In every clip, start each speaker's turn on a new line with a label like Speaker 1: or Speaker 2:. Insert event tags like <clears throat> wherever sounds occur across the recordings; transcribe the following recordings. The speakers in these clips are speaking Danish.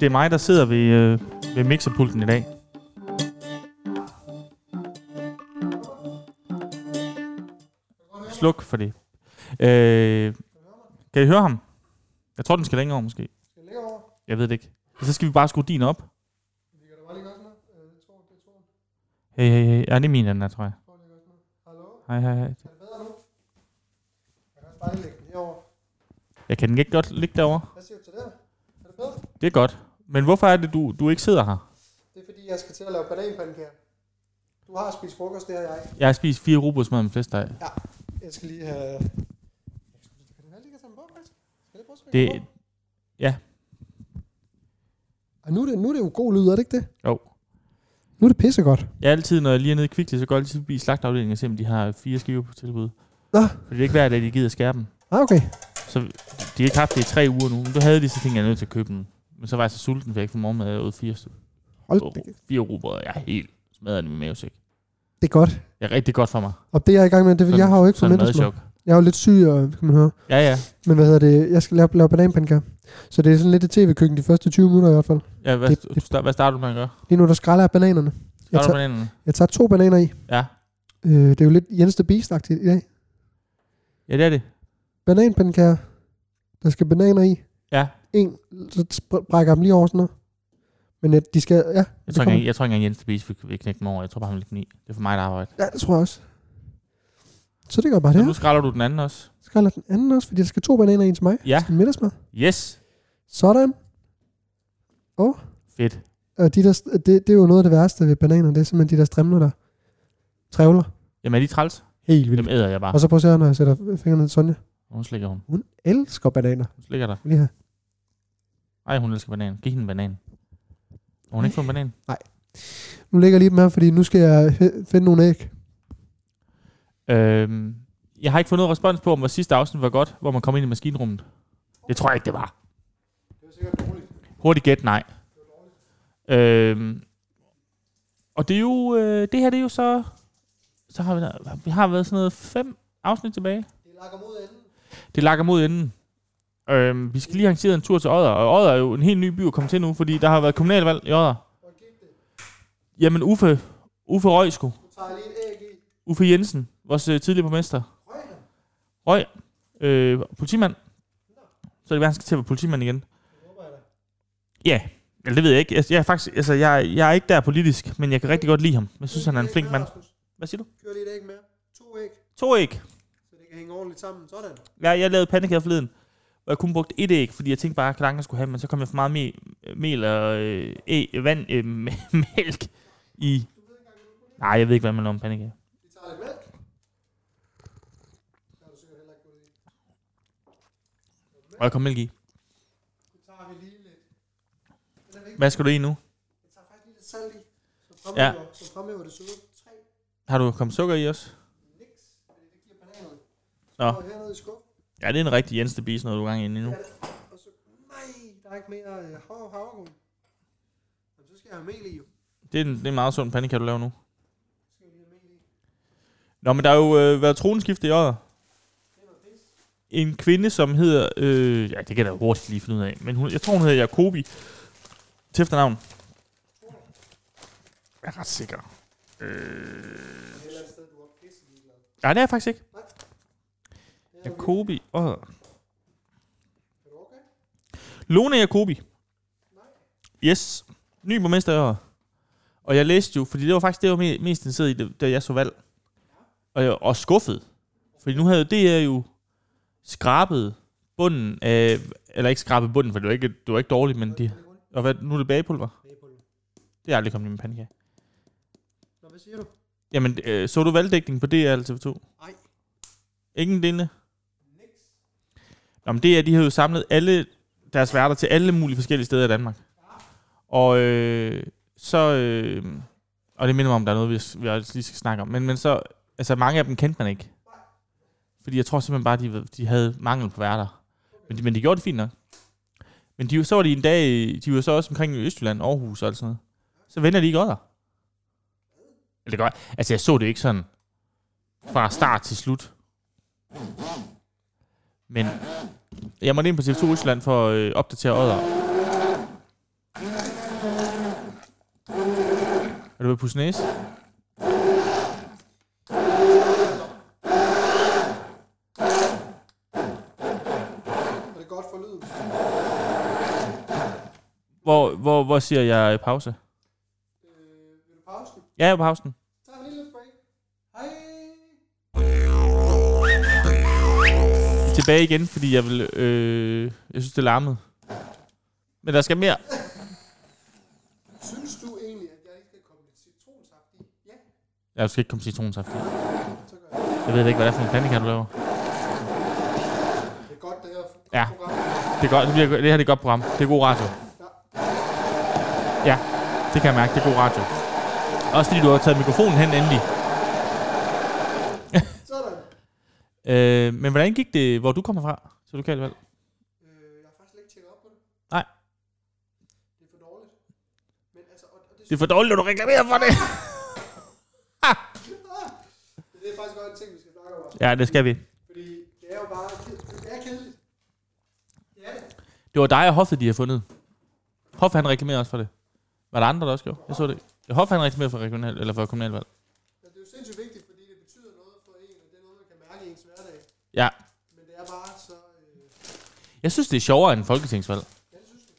Speaker 1: Det er mig, der sidder ved, øh, ved mixerpulten i dag. Sluk for det. Øh, kan I høre ham? Jeg tror, den skal længere over, måske.
Speaker 2: Skal jeg lægge over?
Speaker 1: Jeg ved det ikke. Så skal vi bare skrue din op.
Speaker 2: Vi kan da bare lige gøre sådan noget. Øh, Jeg tror, det tror.
Speaker 1: Hey, hey, hey. Ja, det er min, den der, tror jeg.
Speaker 2: Prøv lige at gøre sådan noget. Hallo?
Speaker 1: Hej, hej, hej.
Speaker 2: Er det bedre nu? Jeg kan også bare lige lægge den herover.
Speaker 1: Jeg kan den ikke godt ligge derovre.
Speaker 2: Hvad siger du til det? Er det bedre?
Speaker 1: Det er godt. Men hvorfor er det, du, du ikke sidder her?
Speaker 2: Det er fordi, jeg skal til at lave bananpandekager. Du har spist frokost, det har jeg.
Speaker 1: Jeg har spist fire rugbrødsmad med flæsteg.
Speaker 2: Jeg skal lige have... Kan det være, lige kan tage den på, faktisk? Skal jeg prøve at smække den
Speaker 1: Det,
Speaker 2: på?
Speaker 1: ja.
Speaker 2: Og nu er, det, nu er det jo god lyd, er det ikke det?
Speaker 1: Jo.
Speaker 2: Nu er det pissegodt.
Speaker 1: Jeg er altid, når jeg lige er nede i Kvickly, så går jeg altid forbi slagtafdelingen og ser, om de har fire skiver på tilbud.
Speaker 2: Nå.
Speaker 1: For det er ikke hver dag, de gider skære dem.
Speaker 2: Ah, okay.
Speaker 1: Så de har ikke haft det i tre uger nu. Men du havde de, så tænkte jeg, jeg er nødt til at købe dem. Men så var jeg så sulten, for jeg ikke fik morgenmad. Jeg åd fire, styk-
Speaker 2: Hold
Speaker 1: åh,
Speaker 2: det,
Speaker 1: fire rugbrød. Jeg er helt smadret i min mavesæk.
Speaker 2: det er godt.
Speaker 1: Det er rigtig godt for mig.
Speaker 2: Og det, jeg er i gang med, det er, jeg har jo ikke
Speaker 1: Sådan
Speaker 2: forventet mig.
Speaker 1: madchok.
Speaker 2: Jeg er jo lidt syg, og, kan man høre.
Speaker 1: Ja, ja.
Speaker 2: Men hvad hedder det? Jeg skal lave, lave bananpandekager. Så det er sådan lidt et tv-køkken de første 20 minutter i hvert fald.
Speaker 1: ja hvad,
Speaker 2: Det-
Speaker 1: du start, hvad starter du med at gøre?
Speaker 2: Lige nu, der skræller jeg bananerne. Jeg
Speaker 1: Starter du
Speaker 2: tager,
Speaker 1: med den?
Speaker 2: jeg tager to bananer i.
Speaker 1: Ja.
Speaker 2: Øh, det er jo lidt Jens the beast i dag.
Speaker 1: Ja, det er det.
Speaker 2: Bananpandekager. Der skal bananer i.
Speaker 1: Ja.
Speaker 2: En, så sp- brækker jeg dem lige over sådan noget. Men øh, de skal, ja,
Speaker 1: Jeg
Speaker 2: Det
Speaker 1: tror, ikke,
Speaker 2: kommer.
Speaker 1: engang- jeg tror ikke engang, Jens Tobias vil vil knække mig over. Jeg tror bare, han vil knække. Det er for mig, der arbejder.
Speaker 2: ja, det tror jeg også. Så det gør jeg bare
Speaker 1: Så
Speaker 2: det
Speaker 1: nu
Speaker 2: her.
Speaker 1: skræller du den anden også.
Speaker 2: Skræller den anden også, fordi der skal to bananer i en til mig.
Speaker 1: Ja.
Speaker 2: Til middagsmad.
Speaker 1: Yes.
Speaker 2: Sådan.
Speaker 1: Fedt.
Speaker 2: Og de der, st- det, det, er jo noget af det værste ved bananer. Det er simpelthen de der strimler, der trævler.
Speaker 1: Jamen, er de træls?
Speaker 2: Helt vildt.
Speaker 1: Dem æder jeg bare.
Speaker 2: Og så prøv at se her, når jeg sætter fingrene til Sonja.
Speaker 1: Hun slikker hun.
Speaker 2: Hun elsker bananer.
Speaker 1: Hun slikker dig.
Speaker 2: Lige her.
Speaker 1: Ej, hun elsker banan. Giv hende en banan. Må hun ikke få en banan?
Speaker 2: Nu lægger jeg lige dem her, fordi nu skal jeg he- finde nogle æg.
Speaker 1: Øhm, jeg har ikke fået noget respons på, om vores sidste afsnit var godt, hvor man kom ind i maskinrummet. Det tror jeg ikke, det var.
Speaker 2: Det er sikkert dårligt.
Speaker 1: Hurtigt gæt, nej. Øhm, og det er jo, øh, det her det er jo så, så har vi, der, vi har været sådan noget fem afsnit tilbage.
Speaker 2: Det lakker mod enden.
Speaker 1: Det lakker mod enden. Øhm, vi skal lige arrangere en tur til Odder, og Odder er jo en helt ny by at komme til nu, fordi der har været kommunalvalg i Odder.
Speaker 2: Og gik det.
Speaker 1: Jamen Uffe, Uffe Røjsko,
Speaker 2: Nu tager jeg lige et æg i.
Speaker 1: Uffe Jensen, vores øh, tidligere borgmester. Røg, øh, politimand. Så er det være, han skal til at være politimand igen. Ja, eller det ved jeg ikke. Jeg, jeg er faktisk, altså, jeg, jeg er ikke der politisk, men jeg kan rigtig godt lide ham. Jeg synes, han er en flink mand. Hvad siger du?
Speaker 2: Kør lige et æg med. To æg,
Speaker 1: To æg.
Speaker 2: så det kan hænge ordentligt sammen. Sådan.
Speaker 1: Jeg, jeg lavede pandekager forleden, hvor jeg kun brugte et æg, fordi jeg tænkte bare, at Kalanka skulle have, men så kom jeg for meget mel, mel og øh, æ, vand, øh, <laughs> mælk i... Nej, jeg ved ikke, hvad man laver med pandekager.
Speaker 2: Vi tager lidt mælk. Der er du sikkert heller ikke gået i.
Speaker 1: Og jeg kom mælk i.
Speaker 2: Nu tager vi lige lidt. Den er vigtig.
Speaker 1: Hvad skal du i nu?
Speaker 2: Jeg tager faktisk lige lidt salt i. Så fremhæver, ja. så fremhæver det søde. Tre.
Speaker 1: Har du kommet sukker i også?
Speaker 2: Niks. Fordi det giver bananerne.
Speaker 1: Nå.
Speaker 2: Så går jeg hernede i skuffen.
Speaker 1: Ja, det er en rigtig Jens de Bies, noget du er gang inde i nu.
Speaker 2: Ja, og så, nej, der er ikke mere øh, hav, havregryn. Jamen, så skal jeg have mel i, jo.
Speaker 1: Det er en, det er en meget sund pandekager, du laver nu.
Speaker 2: Så skal jeg lige have mel i.
Speaker 1: Nå, men der har jo øh, været tronskifte i året. En kvinde, som hedder... Øh, ja, det kan jeg da hurtigt lige finde ud af. Men hun, jeg tror, hun hedder Jacobi. Til efternavn. Jeg er ret sikker. Øh,
Speaker 2: Det er et eller andet sted, du har pisse ligeglad.
Speaker 1: nej, det er jeg faktisk ikke.
Speaker 2: Det er okay.
Speaker 1: Jacobi. Åh.
Speaker 2: Er du okay?
Speaker 1: Lone Jacobi. Yes. Ny borgmester i år. Og jeg læste jo, fordi det var faktisk det, jeg var me- mest interesseret i, da- da jeg så valg. Og, jeg, og skuffet. Fordi nu havde det her jo skrabet bunden af, eller ikke skrabet bunden, for det var ikke, det var ikke dårligt, men de, og hvad, nu er det bagepulver.
Speaker 2: Bagepulver.
Speaker 1: Det er aldrig kommet i min pandekage.
Speaker 2: Nå, hvad siger du?
Speaker 1: Jamen, øh, så du valgdækning på DR eller TV2?
Speaker 2: Nej.
Speaker 1: Ingen denne?
Speaker 2: Niks.
Speaker 1: Nå, men DR, de havde jo samlet alle deres værter til alle mulige forskellige steder i Danmark. Og øh, så... Øh, og det minder mig om, der er noget, vi, vi også lige skal snakke om. Men, men så... Altså, mange af dem kendte man ikke. Fordi jeg tror simpelthen bare, de, de havde mangel på værter. Men de, men de gjorde det fint nok. Men de, så var de en dag... i- De var så også omkring i Østjylland, Aarhus og alt sådan noget. Så vender de ikke odder. Eller det gør Altså, jeg så det ikke sådan fra start til slut. Men jeg måtte ind på TV2 Østland for at øh, opdatere odder. Er du ved at pusse næse?
Speaker 2: Er det godt for lyden?
Speaker 1: Hvor, hvor, hvor siger jeg pause?
Speaker 2: Øh, vil du pause den?
Speaker 1: Ja, jeg er på pausen.
Speaker 2: Tag en lille break. Hej.
Speaker 1: Tilbage igen, fordi jeg vil... Øh, jeg synes, det larmede. Men der skal mere.
Speaker 2: Synes du egentlig, at jeg ikke skal komme lidt citronsaft i? Ja,
Speaker 1: Jeg skal ikke komme citronsaft i.
Speaker 2: så gør jeg det.
Speaker 1: Jeg ved ikke, hvad det er for en pandekage, du laver.
Speaker 2: Det er godt, det her
Speaker 1: Ja.
Speaker 2: program.
Speaker 1: Det, er godt, det, bliver, det her det er et godt program. Det er god radio.
Speaker 2: Ja.
Speaker 1: Ja, det kan jeg mærke. Det er god radio. Også fordi du har taget mikrofonen hen endelig.
Speaker 2: Sådan.
Speaker 1: <laughs> Øh, men hvordan gik det, hvor du kommer fra til lokalvalg?
Speaker 2: Øh, jeg har faktisk ikke tjekket op på det.
Speaker 1: Nej.
Speaker 2: Det er for dårligt. Men altså, og, og det,
Speaker 1: Det er for dårligt, at du reklamerer for
Speaker 2: <laughs>
Speaker 1: det.
Speaker 2: Ah, det er faktisk også en ting, vi skal snakke om. også.
Speaker 1: Ja, det skal vi.
Speaker 2: Fordi det er jo bare ked- det er kedeligt. Det er det.
Speaker 1: Det var dig og Hoffe, de har fundet. Hoffe, han reklamerede også for det. Var der andre, der også gjorde? Jeg så det ikke. Ja, Hoffe, han reklamerede for, regional, eller for kommunalvalg.
Speaker 2: Men det er jo sindssygt vigtigt, fordi det betyder noget for en, og det er noget, man kan mærke i ens hverdag.
Speaker 1: Ja.
Speaker 2: Men det er bare så... Øh,
Speaker 1: Jeg synes, det er sjovere end folketingsvalg.
Speaker 2: ja, det synes jeg.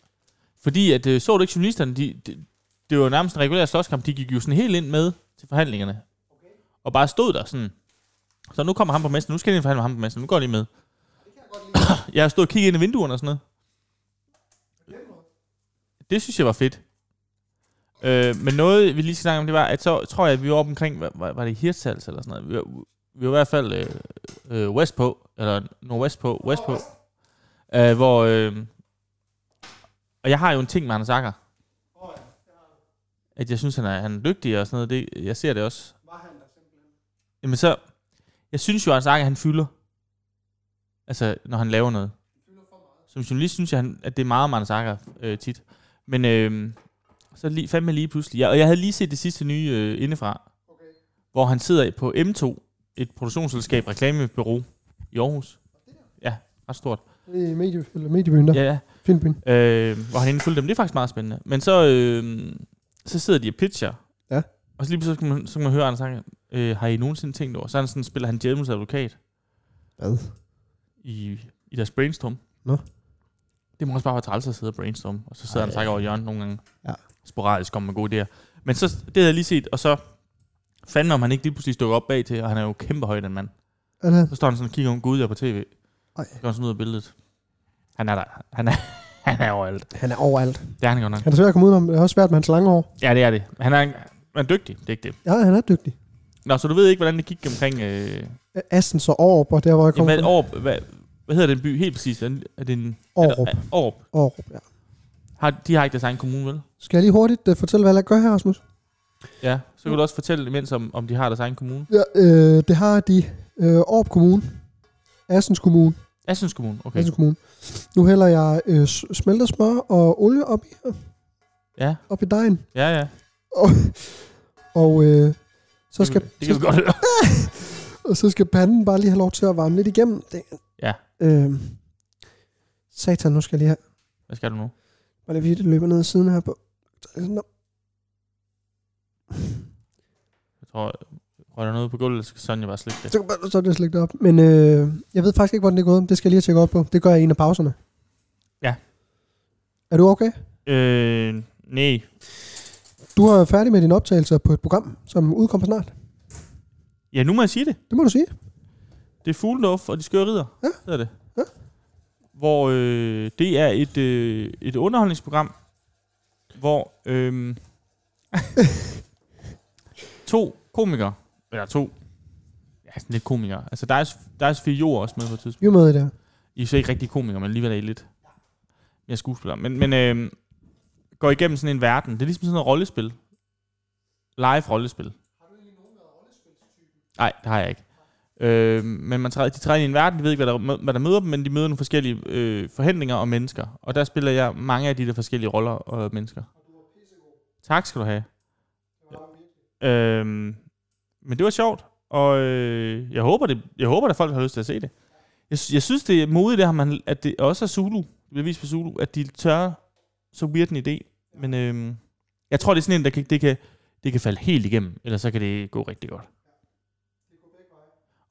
Speaker 1: Fordi at, øh, så du ikke journalisterne, de, de, det var nærmest en regulær slåskamp, de gik jo sådan helt ind med til forhandlingerne.
Speaker 2: Okay.
Speaker 1: Og bare stod der sådan. Så nu kommer ham på messen, nu skal jeg ind og forhandle med ham på messen, nu går de med.
Speaker 2: Det kan jeg godt lide.
Speaker 1: <clears throat> Jeg har stået og kigget ind i vinduerne og sådan noget.
Speaker 2: På den måde.
Speaker 1: Det synes jeg var fedt. Øh, men noget, vi lige skal snakke om, det var, at så tror jeg, at vi var oppe omkring, var, var, var det Hirtshals eller sådan noget? Vi var, vi var i hvert fald øh, øh, vestpå, eller nordvestpå, vestpå, øh, hvor... Øh, og jeg har jo en ting med Anders Akker,
Speaker 2: Åh, ja.
Speaker 1: at jeg synes, han er, han er dygtig og sådan noget. Det, jeg ser det også.
Speaker 2: Var han der simpelthen.
Speaker 1: Jamen så, jeg synes jo, at Anders Akker, han fylder. Altså, når han laver noget.
Speaker 2: Det fylder for meget.
Speaker 1: Som journalist synes jeg, han- at det er meget om Anders Akker øh, tit. Men øh, så lige, fandme lige pludselig. Jeg, og jeg havde lige set det sidste nye øh, indefra,
Speaker 2: Okay.
Speaker 1: hvor han sidder på M2, et produktionsselskab, reklamebureau i Aarhus. Ja, ret stort.
Speaker 2: Det er medie, eller mediebyen der.
Speaker 1: Ja, ja.
Speaker 2: Filmbyen.
Speaker 1: Øh, hvor han indfulgte dem. Det er faktisk meget spændende. Men så, øh, så sidder de og pitcher.
Speaker 2: Ja.
Speaker 1: Og så lige pludselig så kan man, så kan man høre Anders Akker, øh, har I nogensinde tænkt over? Så er han sådan, spiller han Djævelens advokat
Speaker 2: Hvad?
Speaker 1: i, i deres brainstorm.
Speaker 2: Nå.
Speaker 1: Det må også bare være træls at sidde og brainstorm, og så sidder Ej,
Speaker 2: Ej,
Speaker 1: han sagt over hjørnet nogle gange.
Speaker 2: Ja.
Speaker 1: Sporadisk kommer med gode idéer. Men så, det havde jeg lige set, og så fandme om han ikke lige pludselig dukker op bag til, og han er jo kæmpe høj, den mand.
Speaker 2: Er det han?
Speaker 1: Så står han sådan og kigger om Gud, jeg er på tv.
Speaker 2: Ej.
Speaker 1: Så går han sådan ud af billedet. Han er der. Han er, <laughs> han er overalt.
Speaker 2: Han er overalt.
Speaker 1: Det er han godt nok.
Speaker 2: Han er svær at komme udenom. Det er også svært med hans lange hår.
Speaker 1: Ja, det er det. Han er, han er dygtig, det er ikke det.
Speaker 2: Ja, han er dygtig.
Speaker 1: Nå, så du ved ikke, hvordan det gik omkring... Øh,
Speaker 2: Assen så Aarup, og der hvor jeg kom
Speaker 1: jamen, hvad,
Speaker 2: fra.
Speaker 1: Aarup, hvad, hvad hedder den by helt præcis? Er den- er det en, er der-
Speaker 2: Aarup.
Speaker 1: er- Aarup.
Speaker 2: Aarup, ja.
Speaker 1: Har, de har ikke deres egen kommune, vel?
Speaker 2: Skal jeg lige hurtigt uh, fortælle, hvad jeg gør her, Rasmus?
Speaker 1: Ja, så kan du også fortælle imens, om, om de har deres egen kommune.
Speaker 2: Ja, øh, det har de øh, Aarup Kommune, Assens Kommune,
Speaker 1: Assens Kommune,
Speaker 2: okay.
Speaker 1: okay.
Speaker 2: Assens Kommune. Nu hælder jeg øh, s- smeltet smør og olie op i,
Speaker 1: Ja,
Speaker 2: op i dejen,
Speaker 1: ja, ja.
Speaker 2: og øh, så, skal,
Speaker 1: Det, kan vi- det kan vi godt høre.
Speaker 2: og så skal panden bare lige have lov til at varme lidt igennem. Det,
Speaker 1: Ja.
Speaker 2: Øh, satan, nu skal jeg lige have...
Speaker 1: Hvad skal du nu?
Speaker 2: Var det fordi, det løber ned ad siden her på... Nå,
Speaker 1: Jeg tror, røg der noget på gulvet, så kan Sonja bare slikke det.
Speaker 2: så, kan man- så er det slægt op. Men øh, jeg ved faktisk ikke, hvordan det er gået. Det skal jeg lige have tjekket op på. Det gør jeg i en af pauserne.
Speaker 1: Ja.
Speaker 2: Er du okay?
Speaker 1: Øh, nej.
Speaker 2: Du er færdig med dine optagelser på et program, som udkommer snart.
Speaker 1: Ja, nu må jeg sige det.
Speaker 2: Det må du sige.
Speaker 1: Det er Fuglendorf og de skøre ridder.
Speaker 2: Ja.
Speaker 1: Det er det.
Speaker 2: Ja.
Speaker 1: Hvor øh, det er et, øh, et underholdningsprogram, hvor øh, to komikere, eller to, ja, sådan lidt komikere. Altså, der er, der er Sofie Jord også med på et tidspunkt.
Speaker 2: Vi er med i det her.
Speaker 1: I er så ikke rigtig komikere, men alligevel er I lidt. Jeg er skuespiller. Men, men øh, går igennem sådan en verden. Det er ligesom sådan noget rollespil. Live rollespil. Nej, det har jeg ikke. Øh, men man træder, de træder ind i en verden, de ved ikke, hvad der, mø- hvad der møder dem, men de møder nogle forskellige øh, forhandlinger og mennesker. Og der spiller jeg mange af de der forskellige roller og mennesker. Tak skal du have. Øhm, men det var sjovt, og øh, jeg håber, det, jeg håber, at folk har lyst til at se det. Jeg, sy- jeg synes, det er modigt, det her, man, at det også er Zulu, det bliver vist på Zulu, at de tør så weird en idé. Men øhm, jeg tror, det er sådan en, der kan, det kan, det kan falde helt igennem, eller så kan det gå rigtig godt.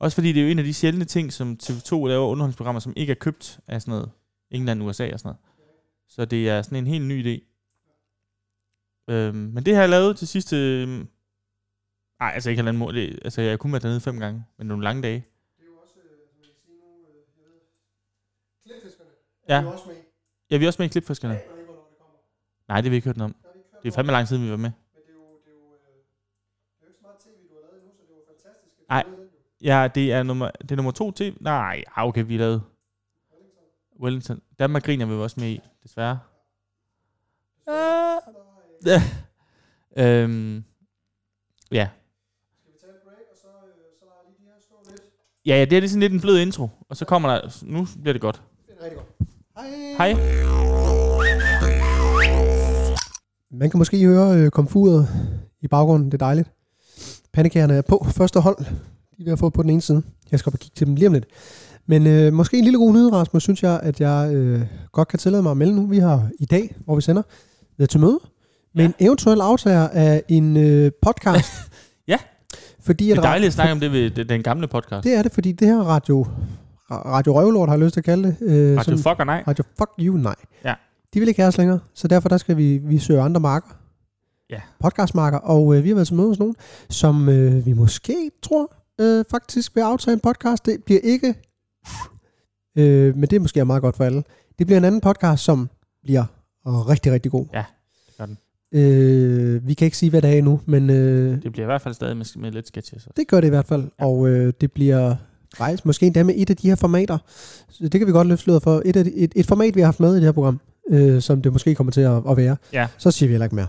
Speaker 1: Også fordi det er jo en af de sjældne ting, som TV2 laver underholdningsprogrammer, som ikke er købt af sådan noget England, USA og sådan noget. Så det er sådan en helt ny idé. Øhm, men det har jeg lavet til sidste... øhm, Nej, altså ikke halvanden måned. Det- Altså jeg har kun været dernede fem gange, men nogle lange dage.
Speaker 2: Det er jo også, øh, som jeg kan sige nu, øh, jeg ved, klipfiskerne
Speaker 1: Ja.
Speaker 2: er jo også med.
Speaker 1: Ja, vi er også med i klipfiskerne.
Speaker 2: Jeg aner ikke, hvornår det kommer.
Speaker 1: Nej, det har vi ikke hørt noget om.
Speaker 2: Der er vi ikke kørt
Speaker 1: Det er
Speaker 2: over,
Speaker 1: fandme lang tid, vi var med.
Speaker 2: Men det er jo, det er jo, øh, det er jo ikke så meget tv, du har lavet endnu, så det er jo fantastisk. at du
Speaker 1: Nej.
Speaker 2: har lavet den jo.
Speaker 1: Ja, det er nummer, det er nummer to til... Nej, ah, okay, vi lavede
Speaker 2: Er det ikke sådan?
Speaker 1: Wellington. Danmark griner vi også med i, desværre.
Speaker 2: Så-
Speaker 1: Ah.
Speaker 2: så,
Speaker 1: <laughs>
Speaker 2: øh,
Speaker 1: Øhm, ja.
Speaker 2: Skal vi tage et break, og så, øh, så lader jeg lige de her stå lidt?
Speaker 1: ja, ja, det er lige sådan lidt en blød intro. Og så kommer der... Nu bliver det godt.
Speaker 2: Det er rigtig godt. Hej.
Speaker 1: Hej.
Speaker 2: Man kan måske høre øh, komfuret i baggrunden, det er dejligt. Pandekagerne er på første hold. De er ved at få på den ene side. Jeg skal op og kigge til dem lige om lidt. Men øh, måske en lille god nyhed, Rasmus, synes jeg, at jeg øh, godt kan tillade mig at melde nu. Vi har i dag, hvor vi sender, været til møde
Speaker 1: Ja.
Speaker 2: med ja. en eventuel aftager af en øh, podcast.
Speaker 1: <laughs> Ja.
Speaker 2: Fordi
Speaker 1: Det
Speaker 2: at
Speaker 1: er dejligt at snakke om det ved den- den gamle podcast.
Speaker 2: Det er det, fordi det her radio, ra- radio Røvlort har jeg lyst til at kalde det. Øh,
Speaker 1: Radio
Speaker 2: som-
Speaker 1: fuck og nej.
Speaker 2: Radio fuck you, nej.
Speaker 1: Ja.
Speaker 2: De vil ikke have os længere, så derfor der skal vi, vi søge andre marker.
Speaker 1: Ja.
Speaker 2: Podcastmarker, og øh, vi har været til møde hos nogen, som øh, vi måske tror øh, faktisk vil aftage en podcast. Det bliver ikke, øh, men det er måske meget godt for alle. Det bliver en anden podcast, som bliver øh, rigtig, rigtig god.
Speaker 1: Ja, det gør den.
Speaker 2: Øh, vi kan ikke sige, hvad det er endnu, men øh,
Speaker 1: Det bliver i hvert fald stadig med, med lidt sketches.
Speaker 2: det gør det i hvert fald,
Speaker 1: Ja.
Speaker 2: ja. og øh, det bliver rejst måske endda med et af de her formater. Så det kan vi godt løfte sløret for. Et, af de, et, et format, vi har haft med i det her program, øh, som det måske kommer til at, at være.
Speaker 1: Ja.
Speaker 2: Så siger vi heller ikke mere.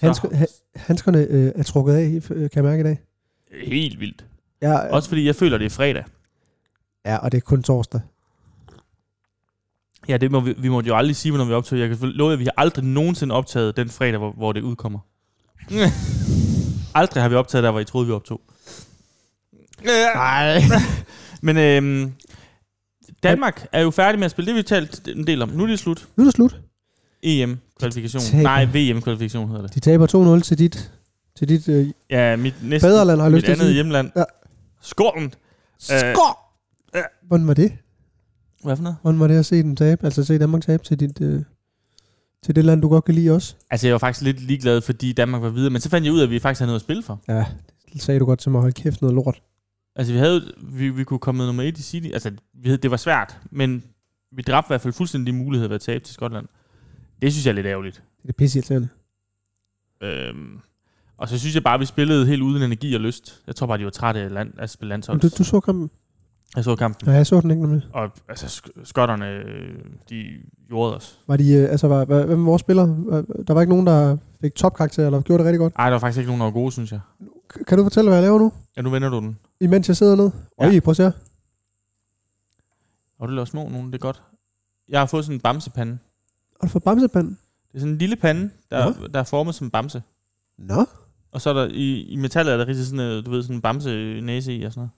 Speaker 2: Han skal-
Speaker 1: Så,
Speaker 2: Handskerne øh, er trukket af, øh, kan jeg mærke i dag.
Speaker 1: helt vildt.
Speaker 2: Ja,
Speaker 1: Også fordi jeg føler, det er fredag.
Speaker 2: ja, og det er kun torsdag.
Speaker 1: Ja, det må vi, vi måtte jo aldrig sige, når vi optog. Jeg kan love jer, at vi har aldrig nogensinde optaget den fredag, hvor, hvor det
Speaker 2: <laughs>
Speaker 1: udkommer. aldrig har vi optaget der, hvor I troede, vi optog.
Speaker 2: Øh.
Speaker 1: Nej. <laughs> Men øhm, Danmark er jo færdig med at spille det, vi talte en del om. Nu er det slut.
Speaker 2: Nu er det slut.
Speaker 1: EM-kvalifikation.
Speaker 2: Taber.
Speaker 1: Nej, VM-kvalifikation hedder det.
Speaker 2: De taber 2-0 til dit, til dit øh,
Speaker 1: Ja, mit næste,
Speaker 2: fædreland, har jeg lyst
Speaker 1: mit
Speaker 2: til at
Speaker 1: andet
Speaker 2: sige.
Speaker 1: hjemland. Ja.
Speaker 2: Ja.
Speaker 1: Skålen. Øh.
Speaker 2: Skår!
Speaker 1: Ja.
Speaker 2: Hvordan var det?
Speaker 1: Hvad for noget?
Speaker 2: Hvordan var det at se dem tabe? Altså se Danmark tabe til, dit, øh, til det land, du godt kan lide også?
Speaker 1: Altså, jeg var faktisk lidt ligeglad, fordi Danmark var videre. Men så fandt jeg ud af, at vi faktisk havde noget at spille for.
Speaker 2: Ja, det sagde du godt til mig. Hold kæft, noget lort.
Speaker 1: Altså, vi, havde, vi, vi kunne komme med nummer et i City. Altså, vi havde, det var svært, men vi dræbte i hvert fald fuldstændig de muligheder ved at tabe til Skotland. Det synes jeg er lidt ærgerligt.
Speaker 2: Det er pisse irriterende.
Speaker 1: Øhm, og så synes jeg bare, at vi spillede helt uden energi og lyst. Jeg tror bare, de var trætte af, land, at spille
Speaker 2: Men
Speaker 1: landshold.
Speaker 2: du, du så kampen?
Speaker 1: Jeg så kampen,
Speaker 2: Nej, jeg så den ikke nemlig.
Speaker 1: og altså, sk- skotterne, øh, de gjorde os.
Speaker 2: Var de, øh, altså, var, var, hvem var vores spillere? Var- Der var ikke nogen, der fik topkarakter, eller gjorde det rigtig godt.
Speaker 1: Ej, der var faktisk ikke nogen, der var gode, synes jeg.
Speaker 2: K- Kan du fortælle, hvad jeg laver nu?
Speaker 1: Ja, nu vender du den.
Speaker 2: Imens jeg sidder ned.
Speaker 1: Ja.
Speaker 2: Ja. Øj, prøv at se her.
Speaker 1: Og du laver små nogen, det er godt. Jeg har fået sådan en bamsepande.
Speaker 2: Har du fået bamsepanden?
Speaker 1: Det er sådan en lille pande, der, der er formet som en bamse.
Speaker 2: Nå.
Speaker 1: Og så er der i, i metallet er der rigtig sådan, øh, du ved, sådan en bamse næse i og sådan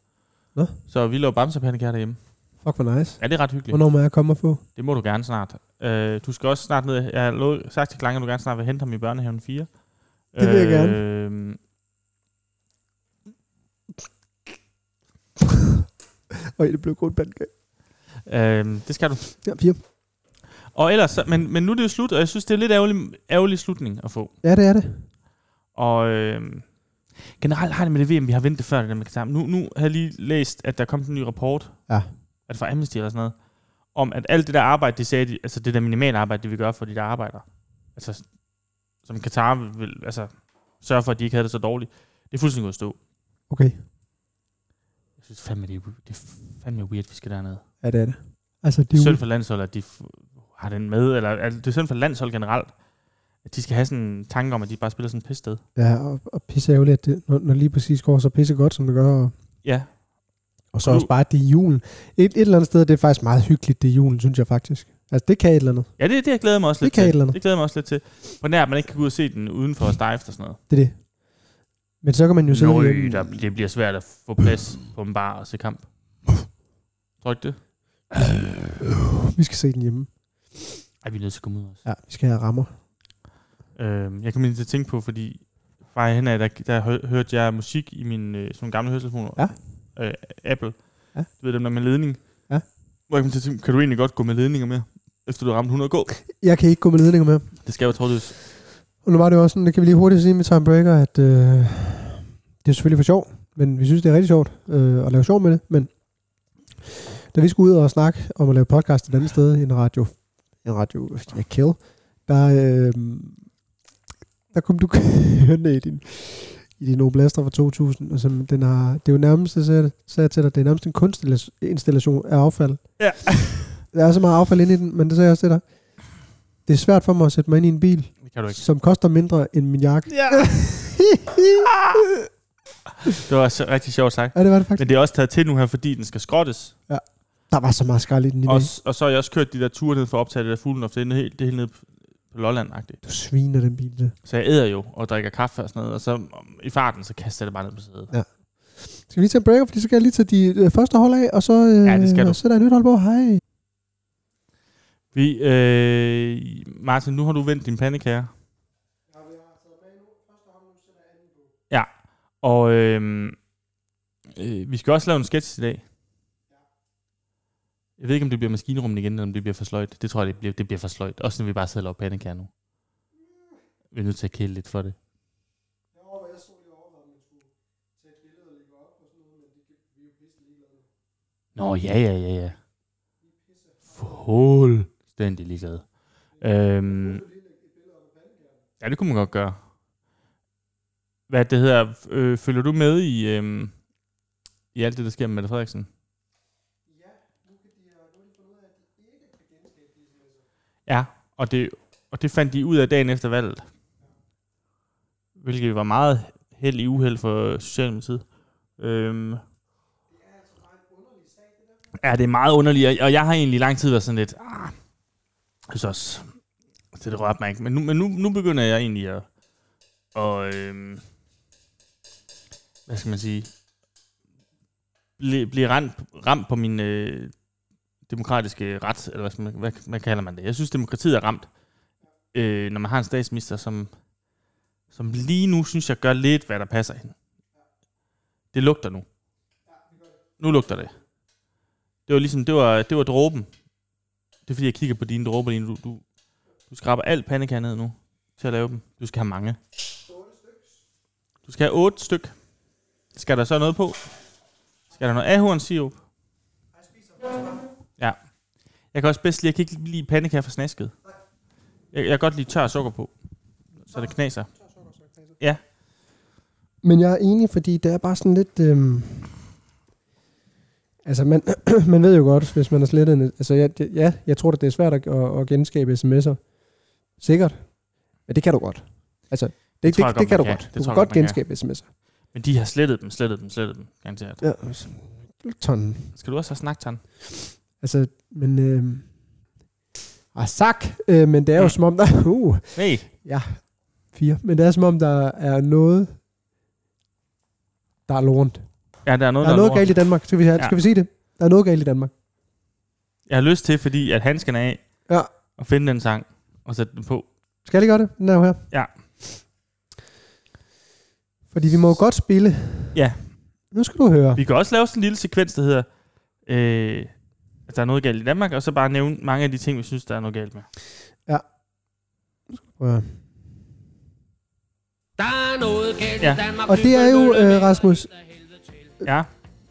Speaker 1: noget.
Speaker 2: Nå.
Speaker 1: Så vi laver bamsepandekager derhjemme.
Speaker 2: Fuck, hvor nice.
Speaker 1: Ja, det er ret hyggeligt.
Speaker 2: Hvornår må jeg komme og få?
Speaker 1: Det må du gerne snart. Øh, du skal også snart ned. Jeg har lovet, sagt til Klange, at du gerne snart vil hente ham i børnehaven 4.
Speaker 2: Det vil jeg gerne.
Speaker 1: Øh,
Speaker 2: Øj, det blev godt bandgag.
Speaker 1: øh, det skal du.
Speaker 2: Ja, fire.
Speaker 1: Og ellers, så- men, men nu er det jo slut, og jeg synes, det er lidt ærgerlig, ærgerlig slutning at få.
Speaker 2: Ja, det er det.
Speaker 1: Og øh, generelt har det med det VM, vi har ventet før, det der med Katar. Nu, nu har jeg lige læst, at der kom sådan en ny rapport.
Speaker 2: Ja.
Speaker 1: Er det fra Amnesty eller sådan noget? Om at alt det der arbejde, de sagde, de- altså det der minimale arbejde, det vi gør for de der arbejder, altså som Katar vil- vil, altså sørge for, at de ikke havde det så dårligt, det er fuldstændig gået i stå.
Speaker 2: Okay.
Speaker 1: Jeg synes fandme, det er, det er fandme weird, vi skal derned.
Speaker 2: Ja, det er det. Altså, det
Speaker 1: Det
Speaker 2: er
Speaker 1: er
Speaker 2: jo...
Speaker 1: synd for landshold, at de f- har den med, eller altså, det er synd for landshold generelt, at de skal have sådan en tanke om, at de bare spiller sådan et pissted.
Speaker 2: Ja, og, og pisse ærgerligt, at det, når, når, lige præcis går så pisse godt, som det gør, og
Speaker 1: Ja,
Speaker 2: Og så
Speaker 1: Og nu-
Speaker 2: også bare, at det er julen. Et, et eller andet sted, det er faktisk meget hyggeligt, det er julen, synes jeg faktisk. Altså, det kan et eller andet.
Speaker 1: Ja, det, det glæder jeg mig også
Speaker 2: Det
Speaker 1: lidt
Speaker 2: kan et eller
Speaker 1: til.
Speaker 2: andet.
Speaker 1: Det glæder jeg mig også lidt til. På nær, at man ikke kan gå ud og se den udenfor og stejft og sådan noget.
Speaker 2: Det er det. Men så kan man jo sidde
Speaker 1: Nøj,
Speaker 2: derhjemme.
Speaker 1: der, det bliver svært at få plads på en bar og se kamp. Tror du ikke det?
Speaker 2: Øh, Vi skal se den hjemme.
Speaker 1: Ej, vi er nødt til at komme ud også.
Speaker 2: Ja, vi skal have rammer.
Speaker 1: Øh, jeg kom lige til at tænke på, fordi fra hen af, der, der hø- hørte jeg musik i min øh, sådan nogle gamle høretelefoner.
Speaker 2: Ja.
Speaker 1: Øh, Apple.
Speaker 2: Ja.
Speaker 1: Du ved dem der med ledning.
Speaker 2: Ja.
Speaker 1: Hvor jeg kom til at tænke, kan du egentlig godt gå med ledninger mere, efter du har ramt 100 k?
Speaker 2: Jeg kan ikke gå med ledninger med.
Speaker 1: Det skal jeg jo trådløst.
Speaker 2: Og nu var det jo også sådan, det kan vi lige hurtigt sige med Timebreaker, at øh, det er selvfølgelig for sjov, men vi synes, det er rigtig sjovt øh, at lave sjov med det. Men da vi skulle ud og snakke om at lave podcast et andet sted end radio, en radio ja, Kill, der, øh, der kom du <laughs> hørende i din, i din Oblaster fra 2000, og som den har, det er jo nærmest, jeg sagde, det- sagde jeg til dig, det er nærmest en kunstinstallation af affald.
Speaker 1: Ja.
Speaker 2: Der er så meget affald inde i den, men det sagde jeg også til dig. Det er svært for mig at sætte mig ind i en bil,
Speaker 1: Det kan du ikke.
Speaker 2: som koster mindre end min jakke.
Speaker 1: Ja. <laughs> det var så rigtig sjovt sagt.
Speaker 2: Ja, det var det faktisk.
Speaker 1: Men det er også taget til nu her, fordi den skal skrottes.
Speaker 2: Der var så meget skrald i den i dag.
Speaker 1: Og, s- og så har jeg også kørt de der ture ned for at optage det der fuglen, det er nede helt, det er helt nede på- på Lolland-agtigt.
Speaker 2: Du sviner den bil. der.
Speaker 1: Så jeg æder jo og drikker kaffe og sådan noget, og så om- i farten, så kaster jeg det bare ned på sædet.
Speaker 2: Skal vi lige tage en breaker, fordi så skal jeg lige tage de øh, første hold af, og så øh,
Speaker 1: Ja, det skal du.
Speaker 2: og sætter jeg et nyt hold på. Hej.
Speaker 1: Vi, øh, Martin, nu har du vendt din pandekager. Ja, og øh, øh, vi skal også lave en sketch i dag. Jeg ved ikke, om det bliver maskinrummet igen, eller om det bliver for sløjt. Det tror jeg, det bliver, det bliver for sløjt. Også når vi bare sidder og laver pandekager nu. Vi er nødt til at kæle lidt for det. Nå, ja, ja, ja, ja. Fuldstændig ligeglad. Øhm, ja, det kunne man godt gøre. Hvad det hedder, øh, følger du med i, øh, i alt det, der sker med Mette Frederiksen? Ja, og det, og det fandt de ud af dagen efter valget. Hvilket var meget held i uheld for Socialdemokratiet. Øhm, Ja, det er meget underligt, og- og jeg har egentlig i lang tid været sådan lidt, ah, jeg synes også, det, det rørte mig ikke. Men nu, men nu, nu begynder jeg egentlig at, og, øhm, hvad skal man sige, blive, blive ramt, ramt på min øh, demokratiske ret, eller hvad, skal man, hvad, hvad kalder man det? Jeg synes, demokratiet er ramt, øh, når man har en statsminister, som, som lige nu, synes jeg, gør lidt, hvad der passer hende. Det lugter nu. Nu lugter det. Det var ligesom, det var, det var dråben. Det er fordi, jeg kigger på dine dråber lige nu. Du, du, du skraber alt pandekager ned nu til at lave dem. Du skal have mange. Du skal have otte styk. Skal der så noget på? Skal der noget ahorn sirup? Ja. Jeg kan også bedst lide, jeg kan ikke lide pandekager for snasket. Jeg, jeg kan godt lide tør sukker på. Så det knaser.
Speaker 2: Men jeg er enig, fordi det er bare sådan lidt... Øhm, altså, man, <clears throat> man ved jo godt, hvis man har slettet en... Altså, jeg, det- ja, jeg tror, at det er svært at, at, at genskabe sms'er. Sikkert. Men det kan du godt. Altså, det, det,
Speaker 1: tror
Speaker 2: det,
Speaker 1: jeg godt,
Speaker 2: det, kan du
Speaker 1: man kan.
Speaker 2: godt.
Speaker 1: Det tror
Speaker 2: Du kan
Speaker 1: jeg
Speaker 2: godt
Speaker 1: godt, man
Speaker 2: genskabe sms'er.
Speaker 1: Men de har slettet dem, slettet dem, slettet dem. Garanteret.
Speaker 2: Ja, tonnen.
Speaker 1: Skal du også have snaktan?
Speaker 2: Altså, men... Øh, ah, sak, øh, men det er jo
Speaker 1: Mm.
Speaker 2: som om, der... <laughs> Uh,
Speaker 1: Nej.
Speaker 2: fire. Men det er som om, der er noget, der er lorent.
Speaker 1: Ja, der er noget,
Speaker 2: Der er noget
Speaker 1: lort.
Speaker 2: galt i Danmark. Skal vi, have,
Speaker 1: Ja.
Speaker 2: skal vi sige det? Der er noget galt i Danmark.
Speaker 1: Jeg har lyst til, fordi at han skal af
Speaker 2: Ja.
Speaker 1: og finde den sang og sætte den på.
Speaker 2: Skal det gøre det? Den er jo her.
Speaker 1: Ja.
Speaker 2: Fordi vi må jo godt spille.
Speaker 1: Ja.
Speaker 2: Nu skal du høre.
Speaker 1: Vi kan også lave sådan en lille sekvens, der hedder, øh, at der er noget galt i Danmark, og så bare nævne mange af de ting, vi synes, der er noget galt med.
Speaker 2: Ja.
Speaker 3: Der er noget galt
Speaker 1: Ja.
Speaker 3: ja. Danmark.
Speaker 2: Og det er jo, øh, Rasmus,
Speaker 1: Ja,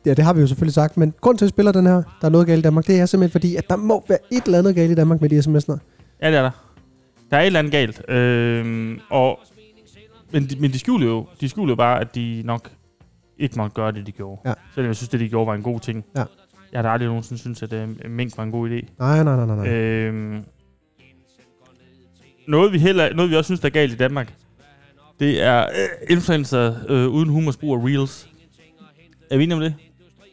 Speaker 2: ja, det har vi jo selvfølgelig sagt, men grund til, at jeg spiller den her, der er noget galt i Danmark, det er simpelthen fordi, at der må være et eller andet galt i Danmark med de sms'er.
Speaker 1: ja det er der. Der er et eller andet galt. Øh, og, men, de, men de skjuler jo, de skjuler jo bare, at de nok ikke måtte gøre det, de gjorde.
Speaker 2: Ja.
Speaker 1: Selvom jeg synes, det de gjorde var en god ting.
Speaker 2: Ja.
Speaker 1: Jeg har da aldrig nogensinde synes at øh, mink var en god idé.
Speaker 2: Nej, nej, nej, nej. nej.
Speaker 1: Øhm, noget, vi heller, noget, vi også synes, der er galt i Danmark, det er øh, influencer øh, uden humorsbrug af reels. Er vi enige om det?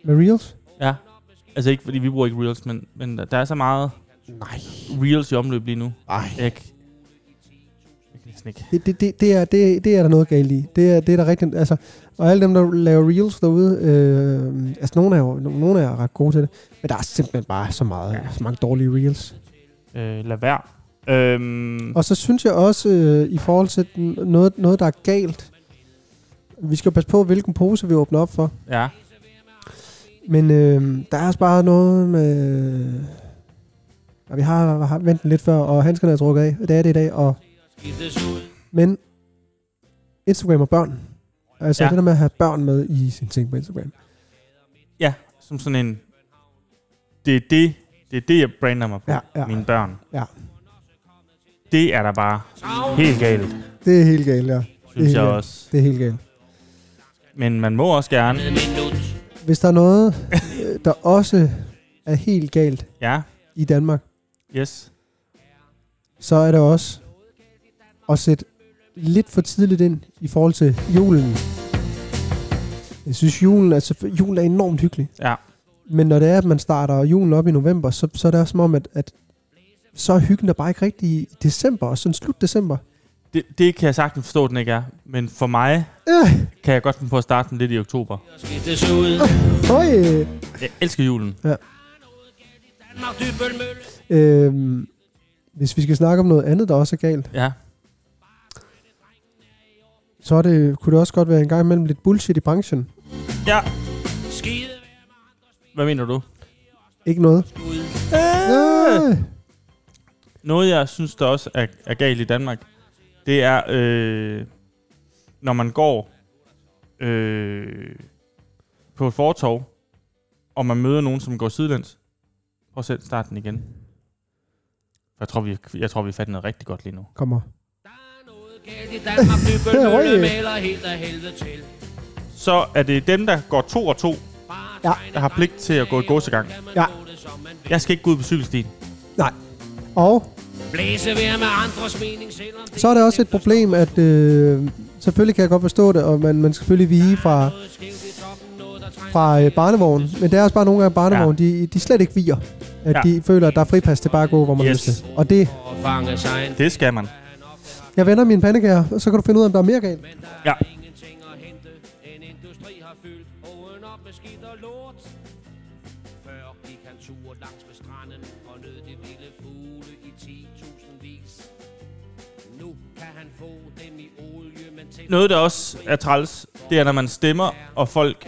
Speaker 2: Med Reels?
Speaker 1: Ja. Altså ikke, fordi vi bruger ikke reels, men, men der er så meget
Speaker 2: Nej.
Speaker 1: reels i omløb lige nu.
Speaker 2: Nej.
Speaker 1: Jeg, kan- jeg kan næsten ikke.
Speaker 2: Det, det, det, det, er, det, det er der noget galt i. Det er, det er der rigtigt. Altså, og alle dem, der laver reels derude, øh, altså nogle er, jo, nogle er ret gode til det, men der er simpelthen bare så, meget, ja. så mange dårlige reels.
Speaker 1: Øh, lad være. Øhm,
Speaker 2: Og så synes jeg også, øh, i forhold til den, noget, noget, der er galt, vi skal jo passe på, hvilken pose vi åbner op for.
Speaker 1: ja.
Speaker 2: Men øh, der er også bare noget med... Og vi har, har ventet lidt før, og handskerne er trukket af. Det er det i dag, og... Men Instagram og børn. Altså
Speaker 1: Ja.
Speaker 2: ja. det der med at have børn med i sin ting på Instagram.
Speaker 1: Som sådan en... Det er det, det, er det jeg brander mig på.
Speaker 2: Ja, ja.
Speaker 1: Mine børn.
Speaker 2: Ja.
Speaker 1: Det er der bare helt galt,
Speaker 2: Det er helt galt, ja.
Speaker 1: synes
Speaker 2: helt
Speaker 1: jeg
Speaker 2: galt.
Speaker 1: også.
Speaker 2: Det er helt galt.
Speaker 1: Men man må også gerne...
Speaker 2: Hvis der er <laughs> noget, øh, der også er helt galt
Speaker 1: Ja,
Speaker 2: i Danmark,
Speaker 1: yes.
Speaker 2: så er det også at sætte lidt for tidligt ind i forhold til julen. Jeg synes, julen, altså, julen er enormt hyggelig.
Speaker 1: Ja.
Speaker 2: Men når det er, at man starter julen op i november, så, så er det også som om, at, at så er hyggen der bare ikke rigtig i december, og sådan slut december.
Speaker 1: Det, det kan jeg sagtens forstå, den ikke er. Men for mig
Speaker 2: Øh,
Speaker 1: kan jeg godt finde på at starte den lidt i oktober.
Speaker 2: Ah, høj.
Speaker 1: Jeg elsker julen.
Speaker 2: Øhm, hvis vi skal snakke om noget andet, der også er galt,
Speaker 1: Ja,
Speaker 2: så er det, kunne det også godt være en gang imellem lidt bullshit i branchen.
Speaker 1: hvad mener du?
Speaker 2: Ikke noget. Øh.
Speaker 1: Noget, jeg synes, der også er, er galt i Danmark, det er, øh, når man går øh, på et fortov, og man møder nogen, som går sidelæns. Prøv selv starten igen. Jeg tror, vi, jeg tror, vi fandt noget rigtig godt lige nu.
Speaker 2: Kommer. <laughs>
Speaker 1: Så er det dem, der går to og to,
Speaker 2: Ja.
Speaker 1: der har pligt til at gå i gåsegang.
Speaker 2: Ja.
Speaker 1: Jeg skal ikke gå ud på cykelstien.
Speaker 2: Nej. Og
Speaker 3: Blæse ved med andres mening, selvom det
Speaker 2: så er det også et problem, at øh, selvfølgelig kan jeg godt forstå det, og man, man skal selvfølgelig vige fra,
Speaker 3: er skævt i toppen, noget der trænger.
Speaker 2: fra øh, barnevognen. Men det er også bare nogle gange, at barnevognen, ja. de, de slet ikke viger. At
Speaker 1: Ja.
Speaker 2: ja. de føler, at der er fripas til bare at gå, hvor man yes.
Speaker 1: Yes.
Speaker 2: lyst til. Og det,
Speaker 3: Og fange sig en
Speaker 1: Det skal man.
Speaker 2: jeg vender min pandekager, og så kan du finde ud af, om der er mere galt.
Speaker 1: Ja.
Speaker 3: ingenting at hente. En industri har fyldt åen op med skidt og lort. Før gik han tur langs med stranden og nød de vilde fugle i 10.000 vis. Nu kan han få dem i olie, men til
Speaker 1: Noget, der også er træls, det er, når man stemmer, og folk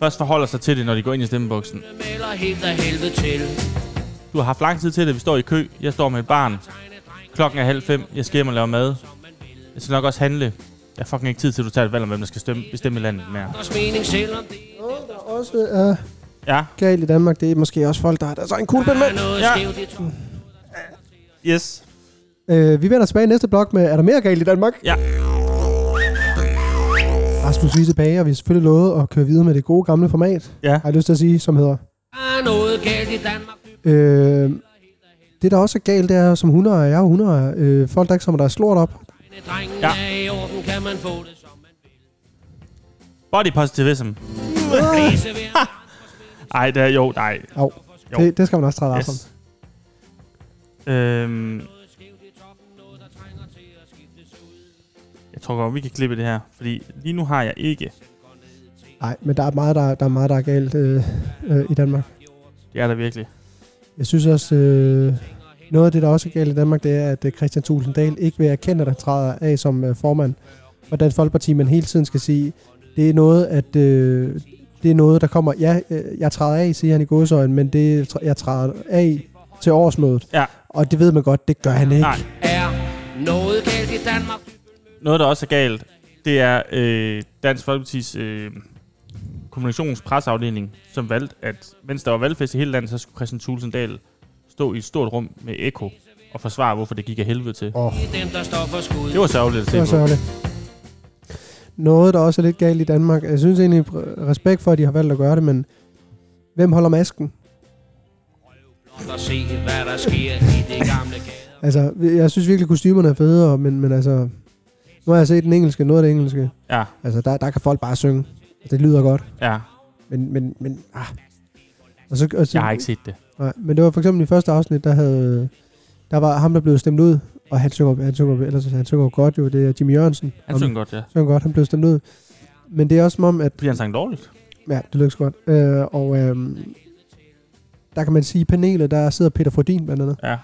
Speaker 1: først forholder sig til det, når de går ind i stemmeboksen.
Speaker 3: melder helt af helvede til.
Speaker 1: Du har haft lang tid til det. Vi står i kø. Jeg står med et barn. Klokken er halv fem. Jeg skal hjem og lave mad. Jeg skal nok også handle. Jeg har fucking ikke tid til, at du tager et valg om, hvem der skal stemme, bestemme i landet mere.
Speaker 3: Andres mening, selvom det
Speaker 2: Noget, der også er
Speaker 1: Ja,
Speaker 2: galt i Danmark, det er måske også folk, der er der er så en kuglepind med.
Speaker 3: er noget
Speaker 1: Ja.
Speaker 3: skævt i toppen.
Speaker 1: yes.
Speaker 2: Øh, vi vender tilbage i næste blok med, er der mere galt i Danmark?
Speaker 1: Ja.
Speaker 2: Rasmus, vi er tilbage, og vi har selvfølgelig lovet at køre videre med det gode gamle format,
Speaker 1: Ja,
Speaker 2: har jeg lyst til at sige, som hedder
Speaker 3: Der er noget galt i Danmark.
Speaker 2: Øh, det, der også er galt, det er, som hundeejer, jeg er jo hundeejer, øh, folk, der ikke som der er slort op.
Speaker 3: Dine drenge
Speaker 1: Ja.
Speaker 3: ja. er i orden, kan man få det som man vil.
Speaker 1: body positivism.
Speaker 3: Blæse ved med
Speaker 1: <laughs> Ej, det er jo, nej.
Speaker 2: Au.
Speaker 1: Jo.
Speaker 2: Det, det skal man også træde yes. af
Speaker 1: Yes. Øhm,
Speaker 3: noget skævt i toppen, noget der trænger til at skiftes ud.
Speaker 1: jeg tror godt, vi kan klippe det her, fordi lige nu har jeg ikke.
Speaker 2: Nej, men der er meget, der, der er, meget, der er galt øh, øh, i Danmark.
Speaker 1: Det er der virkelig.
Speaker 2: Jeg synes også, øh, noget af det, der også er galt i Danmark, det er, at øh, Christian Tulsendal ikke vil erkende, at han træder af som øh, formand for Dansk Folkeparti, men hele tiden skal sige, det er noget, at... Øh, det er noget, der kommer... Ja, øh, jeg træder af, siger han i godsøjen, men det tr- jeg træder af til årsmødet.
Speaker 1: Ja.
Speaker 2: Og det ved man godt, det gør han ikke.
Speaker 1: Nej.
Speaker 3: Er noget galt i Danmark?
Speaker 1: Noget, der også er galt, det er øh, Dansk Folkepartis øh, kommunikationspresseafdeling, som valgte, at mens der var valgfest i hele landet, så skulle Christian Thulesen Dahl stå i et stort rum med ekko og forsvare, hvorfor det gik af helvede til.
Speaker 2: Oh.
Speaker 3: Det er dem, der står for skud.
Speaker 1: Det var sørgeligt at
Speaker 2: Det var
Speaker 1: se på.
Speaker 2: sørgeligt. Noget, der også er lidt galt i Danmark. Jeg synes egentlig, pr- respekt for, at de har valgt at gøre det, men hvem holder masken?
Speaker 3: Og se, hvad der sker i det gamle gader.
Speaker 2: Altså, jeg synes virkelig, kostymerne er fede, og- men, men altså... Nu har jeg set den engelske, noget af det engelske.
Speaker 1: Ja,
Speaker 2: Altså, der, der kan folk bare synge. Altså, Det lyder godt,
Speaker 1: ja.
Speaker 2: men... men, men ah. og så, og så,
Speaker 1: Jeg har ikke set det.
Speaker 2: Nej, men det var for eksempel i første afsnit, der havde... Der var ham, der blev stemt ud, og han synger, han synger, ellers, han synger godt jo, det er Jimmy Jørgensen.
Speaker 1: Han synger godt, ja.
Speaker 2: synger godt, han blev stemt ud. Men det er også som om, at
Speaker 1: Fordi han sang dårligt.
Speaker 2: Ja, det lykkes godt. øhm, Øh, og øh, der kan man sige, i panelet, der sidder Peter Frodin blandt andet.
Speaker 1: Ja.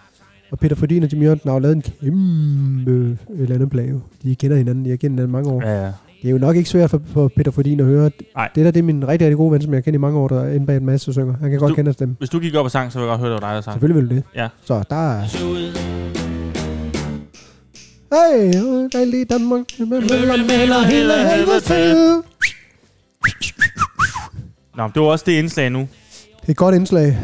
Speaker 2: Og Peter Fordin og Jimmy Jørgensen har jo lavet en kæmpe øh, landeplage. De kender hinanden, de har kendt hinanden mange år.
Speaker 1: Ja, ja.
Speaker 2: Det er jo nok ikke svært for, for Peter Fordin at høre.
Speaker 1: Nej.
Speaker 2: Det der, det er min rigtig, rigtig gode ven, som jeg har kendt i mange år, der er inde bag en masse og synger. Han kan godt
Speaker 1: Du-
Speaker 2: kende os dem.
Speaker 1: Hvis du gik op og sang, så ville jeg godt høre, det var dig, der sang.
Speaker 2: Selvfølgelig vil du det.
Speaker 1: Ja.
Speaker 2: Så der er...
Speaker 3: Så ud,
Speaker 2: Hey, øh, dejlig Danmark. Møller, møller, hele helvede til.
Speaker 1: Nå, men det var også det indslag nu.
Speaker 2: Det er et godt indslag.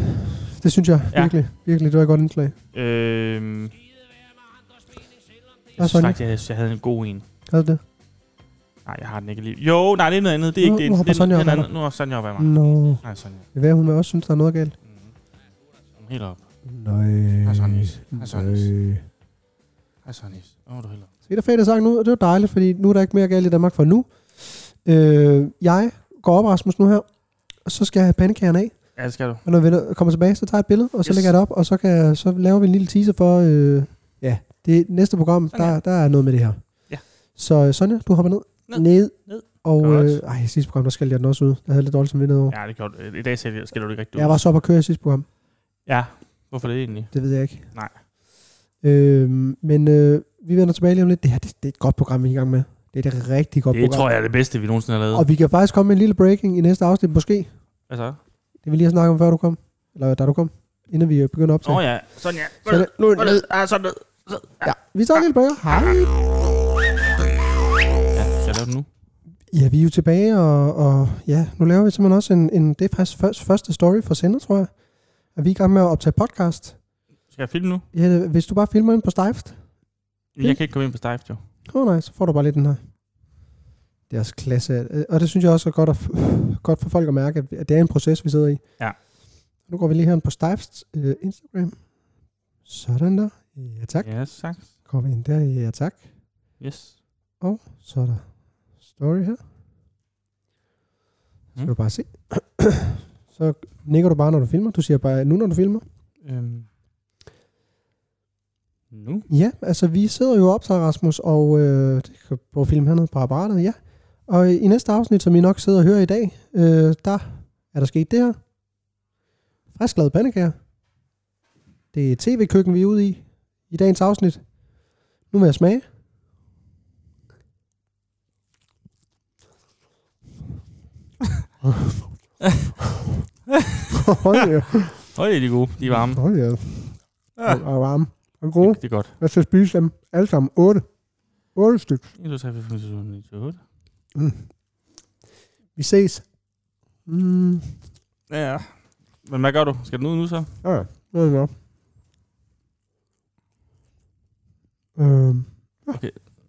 Speaker 2: Det synes jeg.
Speaker 1: Ja.
Speaker 2: Virkelig. Virkelig, det var et godt indslag.
Speaker 1: Øhm, jeg
Speaker 2: Hvad
Speaker 1: synes
Speaker 2: så
Speaker 1: faktisk, jeg, jeg havde en god en.
Speaker 2: Havde du det?
Speaker 1: Nej, jeg har den ikke lige. Jo, nej, det er noget andet. Det er ikke
Speaker 2: Nu-
Speaker 1: det.
Speaker 2: nu hopper
Speaker 1: det er
Speaker 2: Sonja
Speaker 1: en
Speaker 2: op Mm. ad
Speaker 1: anden-
Speaker 2: dig.
Speaker 1: Nu har Sonja op ad mig.
Speaker 2: Nå.
Speaker 1: Nej, Sonja.
Speaker 2: Hvad hun vil også synes, der er noget galt.
Speaker 1: Kom helt op.
Speaker 2: Nej.
Speaker 1: er sådan en is.
Speaker 2: Øh,
Speaker 1: Der er sådan en is.
Speaker 2: Nej.
Speaker 1: Hej, Sonja. Åh, du helt op.
Speaker 2: Se, der fredag sang nu, og det var dejligt, fordi nu er der ikke mere galt i Danmark for nu. Øh, jeg går op, Rasmus, nu her, og så skal jeg have pandekagerne af.
Speaker 1: Ja, det skal du.
Speaker 2: Og når vi vender- kommer tilbage, så tager jeg et billede, og så
Speaker 1: Yes.
Speaker 2: yes. lægger jeg det op, og så, kan, jeg- så laver vi en lille teaser for, øh, ja, det næste program,
Speaker 1: Sådan her.
Speaker 2: der, der er noget med det her.
Speaker 1: Ja.
Speaker 2: Så øh, Sonja, du hopper ned.
Speaker 1: Ned.
Speaker 2: Ned.
Speaker 1: Ned.
Speaker 2: Og
Speaker 1: Godt.
Speaker 2: øh, ej, sidste program, der skal jeg den også ud. Jeg havde lidt dårligt som vindet over.
Speaker 1: Ja, det kan du. I dag sælger skal du ikke rigtig ud.
Speaker 2: jeg var så oppe at køre i sidste program.
Speaker 1: Ja, hvorfor det egentlig?
Speaker 2: Det ved jeg ikke.
Speaker 1: Nej.
Speaker 2: Øhm, men øh, vi vender tilbage lige om lidt. Det her det, det er et godt program, vi er i gang med. Det er et rigtig godt
Speaker 1: Det
Speaker 2: program.
Speaker 1: tror jeg er det bedste, vi nogensinde har lavet.
Speaker 2: Og vi kan faktisk komme med en lille breaking i næste afsnit, måske.
Speaker 1: Hvad så?
Speaker 2: Det vi lige har snakket om, før du kom. Eller da du kom. Inden vi øh, begynder at optage.
Speaker 1: Åh ja, Sonja.
Speaker 2: Så det, nu er det ned.
Speaker 1: Ja, sådan ned. Ah, Så- ah.
Speaker 2: Ja, vi tager en lille breaker. Hej.
Speaker 1: Ja, skal jeg lave den nu?
Speaker 2: Ja, vi er jo tilbage, og, og ja, nu laver vi simpelthen også en, en det er faktisk først, første story for sender, tror jeg. Og vi er i gang med at optage podcast.
Speaker 1: Skal jeg filme nu?
Speaker 2: Ja, hvis du bare filmer ind på Stift,
Speaker 1: Jeg kan ikke komme ind på Stift, jo.
Speaker 2: åh oh, nej, så får du bare lidt den her. Det er også klasse. øh, Og det synes jeg også er godt, at, f- godt for folk at mærke, at- at det er en proces, vi sidder i.
Speaker 1: Ja.
Speaker 2: Nu går vi lige her ind på Stifts øh, Instagram. Sådan der. Ja tak. Ja.
Speaker 1: Ja, tak.
Speaker 2: Går vi ind der. Ja tak.
Speaker 1: Yes.
Speaker 2: Og så er der story her. Så
Speaker 1: Mm.
Speaker 2: kan du bare se. <clears throat> så nikker du bare, når du filmer. Du siger bare, nu når du filmer.
Speaker 1: Øhm. Nu?
Speaker 2: Ja, altså vi sidder jo op til Rasmus, og øh, det kan på film hernede på apparatet, ja. Og øh, i næste afsnit, som I nok sidder og hører i dag, øh, der er der sket det her. Frisklavet pandekager. Det er tv-køkken, vi er ude i i dagens afsnit. Nu vil jeg smage. Hold ja.
Speaker 1: Øj, de er gode. De er varme.
Speaker 2: Hold ja.
Speaker 1: Ah.
Speaker 2: Og varme. Og gode.
Speaker 1: Det er godt.
Speaker 2: Jeg skal spise dem alle sammen. 8. 8 styk.
Speaker 1: 1, 2, 3, 4, 5, 6, 7, 8, 8.
Speaker 2: Vi ses. Mm.
Speaker 1: Ja, ja. Men hvad gør du? Skal den ud nu så?
Speaker 2: Ja, ja. Det er godt. Øhm.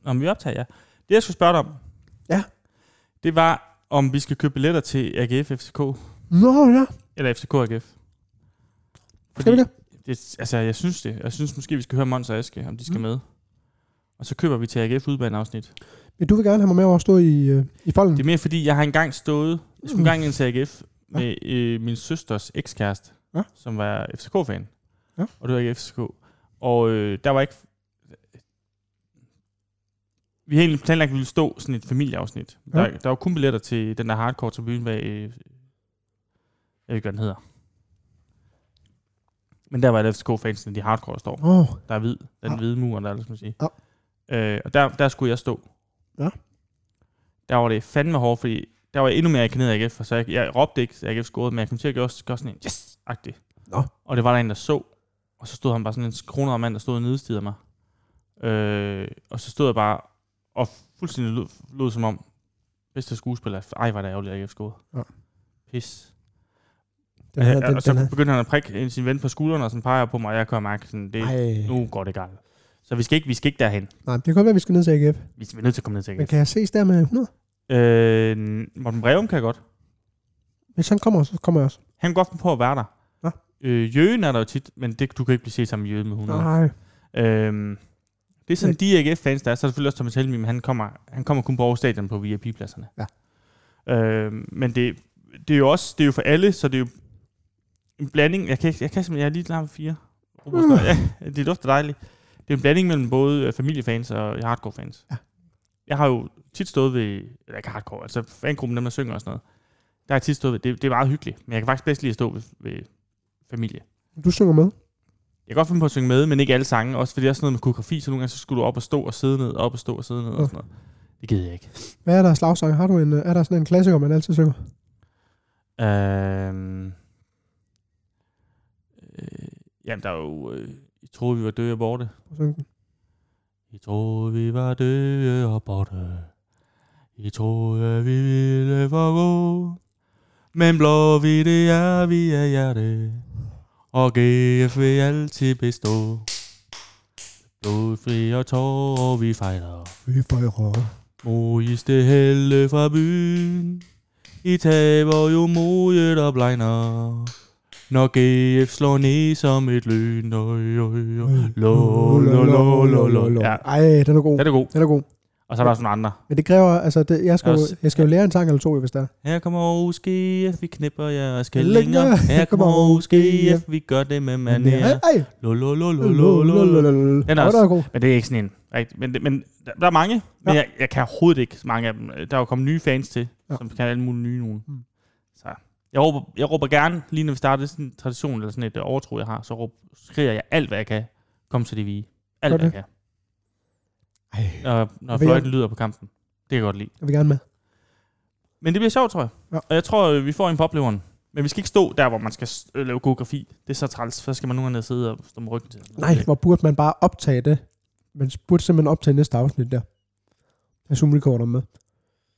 Speaker 1: Nå, men vi optager, ja. Det, jeg skulle spørge dig om,
Speaker 2: Ja.
Speaker 1: det var, om vi skal købe billetter til AGF FCK,
Speaker 2: Nå ja.
Speaker 1: eller FCK AGF.
Speaker 2: Skal vi det?
Speaker 1: det? Altså, jeg synes det. Jeg synes måske, vi skal høre Måns og Aske, om de skal
Speaker 2: Mm.
Speaker 1: mm. med. Og så køber vi til AGF udbaneafsnit.
Speaker 2: Men du vil gerne have mig med over at stå i, øh, i folden.
Speaker 1: Det er mere fordi, jeg har engang stået, jeg skulle
Speaker 2: Mm.
Speaker 1: engang ind til AGF med øh, min søsters ekskæreste,
Speaker 2: Ja.
Speaker 1: som var FCK-fan.
Speaker 2: Ja.
Speaker 1: Og det var ikke FCK. Og øh, der var ikke... Vi havde egentlig planlagt, at vi ville stå sådan et familieafsnit.
Speaker 2: Ja.
Speaker 1: Ja. Der, der var kun billetter til den der hardcore tribune, hvad... Øh, jeg ved ikke, hvad den hedder. Men der var alle FCK-fansene, de hardcore står.
Speaker 2: Åh. Oh.
Speaker 1: Der er hvid. Den
Speaker 2: Ja.
Speaker 1: hvide mur, der er, skal man sige.
Speaker 2: Ja.
Speaker 1: Øh, og der, der skulle jeg stå.
Speaker 2: Ah. Ja.
Speaker 1: Der var det fandme hårdt, fordi der var jeg endnu mere akanet af AGF, og så jeg, jeg råbte ikke, at AGF scorede, men jeg kom til at gøre, gøre sådan en yes-agtig.
Speaker 2: Nå.
Speaker 1: Og det var der en, der så, og så stod han bare sådan en kroner mand, der stod og nedstidede mig. Øh, og så stod jeg bare og fuldstændig lød, lød som om, bedste skuespiller, ej, var det ærgerligt, at AGF scorede.
Speaker 2: Ja.
Speaker 1: Pis.
Speaker 2: Den her,
Speaker 1: og,
Speaker 2: den,
Speaker 1: og så
Speaker 2: den her.
Speaker 1: begyndte han at prikke sin ven på skulderen, og sådan peger på mig, og jeg kører mærke, sådan, det,
Speaker 2: Ej.
Speaker 1: nu går det galt. Så vi skal ikke, vi skal ikke derhen.
Speaker 2: Nej, det kan godt være, at vi skal ned til AGF.
Speaker 1: Vi vi er nødt til at komme ned til
Speaker 2: Men
Speaker 1: AGF.
Speaker 2: kan jeg ses der med 100?
Speaker 1: Øh, Morten Breum kan jeg godt.
Speaker 2: Hvis han kommer, så kommer jeg også.
Speaker 1: Han kan godt finde på at være der.
Speaker 2: Nå.
Speaker 1: Øh, Jøen er der jo tit, men det, du kan ikke blive set sammen med Jøen med 100.
Speaker 2: Nej.
Speaker 1: Øhm, det er sådan de AGF-fans, der er. Så er der selvfølgelig også Thomas Helmi, men han kommer, han kommer kun på Aarhus Stadion på VIP-pladserne. Ja. Øhm, men det, det er jo også, det er jo for alle, så det er jo en blanding. Jeg kan, ikke- jeg kan simpelthen, jeg er lige klar med fire. Robuster. Ja, det dufter dejligt. Det er en blanding mellem både øh, familiefans og hardcore-fans.
Speaker 2: Ja.
Speaker 1: Jeg har jo tit stået ved, eller ikke hardcore, altså fangruppen, dem der synger og sådan noget. Der har jeg tit stået ved, det, det er meget hyggeligt, men jeg kan faktisk bedst lige stå ved, ved familie.
Speaker 2: Du synger med.
Speaker 1: Jeg kan godt finde på at synge med, men ikke alle sange. Også fordi det er sådan noget med koreografi, så nogle gange så skulle du op og stå og sidde ned, op og stå og sidde ned og sådan noget. Det gider jeg ikke.
Speaker 2: Hvad er der af slagsange? Har du en, øh, er der sådan en klassiker, man altid synger?
Speaker 1: Øhm, øh, jamen, der er jo... Øh, jeg troede, vi var døde og borte.
Speaker 2: Og synge den.
Speaker 1: Jeg troede, vi var døde og borte. Jeg troede, vi ville forgå. Men blå vi det er, vi er hjerte. Og GF vil altid bestå. Blodfri og tårer, vi fejler.
Speaker 2: Vi fejrer.
Speaker 1: Modeste helle fra byen. I taber jo modet og blegner. Når GF slår ned som et lyn. Øj, øj, øj. Lo, lo, lo, lo, lo, lo. Ja,
Speaker 2: Ej, den er god.
Speaker 1: den er god.
Speaker 2: Den er god.
Speaker 1: Og så er der også nogle andre.
Speaker 2: Men det kræver, altså, det, jeg, skal jo,
Speaker 1: Også-
Speaker 2: jeg skal jo lære en sang eller to, jo, hvis der er.
Speaker 1: Her kommer Aarhus GF, vi knipper jeres
Speaker 2: Længere.
Speaker 1: kællinger. Her kommer Aarhus GF, vi gør det med manér.
Speaker 2: Ej,
Speaker 1: Lo, lo, lo, lo, lo, lo, lo.
Speaker 2: Den
Speaker 1: Den er også-
Speaker 2: Den er god.
Speaker 1: Men det er ikke sådan en rigtig. Men, det- men der, der er mange, men
Speaker 2: Ja.
Speaker 1: jeg, jeg kan overhovedet ikke så mange af dem. Der er jo kommet nye fans til,
Speaker 2: Ja.
Speaker 1: ja. som kan alle mulige nye nogen.
Speaker 2: Mm.
Speaker 1: Så jeg råber, jeg råber gerne, lige når vi starter, det er sådan en tradition eller sådan et øh, overtro, jeg har, så råber, skriger jeg alt, hvad jeg kan. Kom til de vige. Alt,
Speaker 2: Gør
Speaker 1: hvad jeg
Speaker 2: det.
Speaker 1: kan.
Speaker 2: Ej,
Speaker 1: Når, når
Speaker 2: Vil jeg-
Speaker 1: fløjten lyder på kampen. Det kan jeg godt lide.
Speaker 2: jeg vil gerne med.
Speaker 1: Men det bliver sjovt, tror jeg.
Speaker 2: Ja.
Speaker 1: Ja. Og jeg tror, øh, vi får en på opleveren. Men vi skal ikke stå der, hvor man skal s- øh, lave koreografi. Det er så træls. Så skal man nogle gange sidde og stå med ryggen til.
Speaker 2: Nej, hvor burde man bare optage det? Man burde simpelthen optage næste afsnit der. Jeg zoomer recorder med.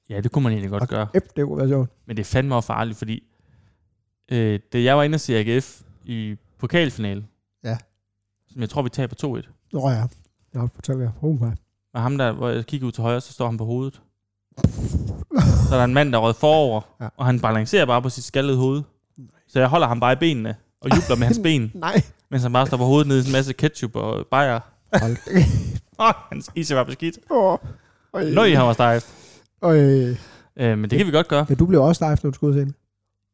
Speaker 1: Ja, det kunne man egentlig godt
Speaker 2: Okay.
Speaker 1: gøre.
Speaker 2: F, det kunne være sjovt.
Speaker 1: Men det er fandme også farligt, fordi øh, da jeg var inde og se AGF i pokalfinalen,
Speaker 2: Ja.
Speaker 1: som jeg tror, vi taber 2-1,
Speaker 2: Nå ja, jeg har fortalt jer. Oh my.
Speaker 1: og ham der, hvor jeg kigger ud til højre, så står han på hovedet. Så er der en mand, der er røget forover,
Speaker 2: Ja.
Speaker 1: ja. og han balancerer bare på sit skaldede hoved. Så jeg holder ham bare i benene og jubler med hans
Speaker 2: <laughs>
Speaker 1: ben,
Speaker 2: Nej.
Speaker 1: mens han bare står på hovedet nede i en masse ketchup og bajer.
Speaker 2: Hold.
Speaker 1: Åh, hans is var beskidt.
Speaker 2: Åh. Øj.
Speaker 1: Nøj, han var stejf.
Speaker 2: Øj.
Speaker 1: Øh, men det kan vi godt gøre.
Speaker 2: Men du blev også stejf, når du skulle ud og se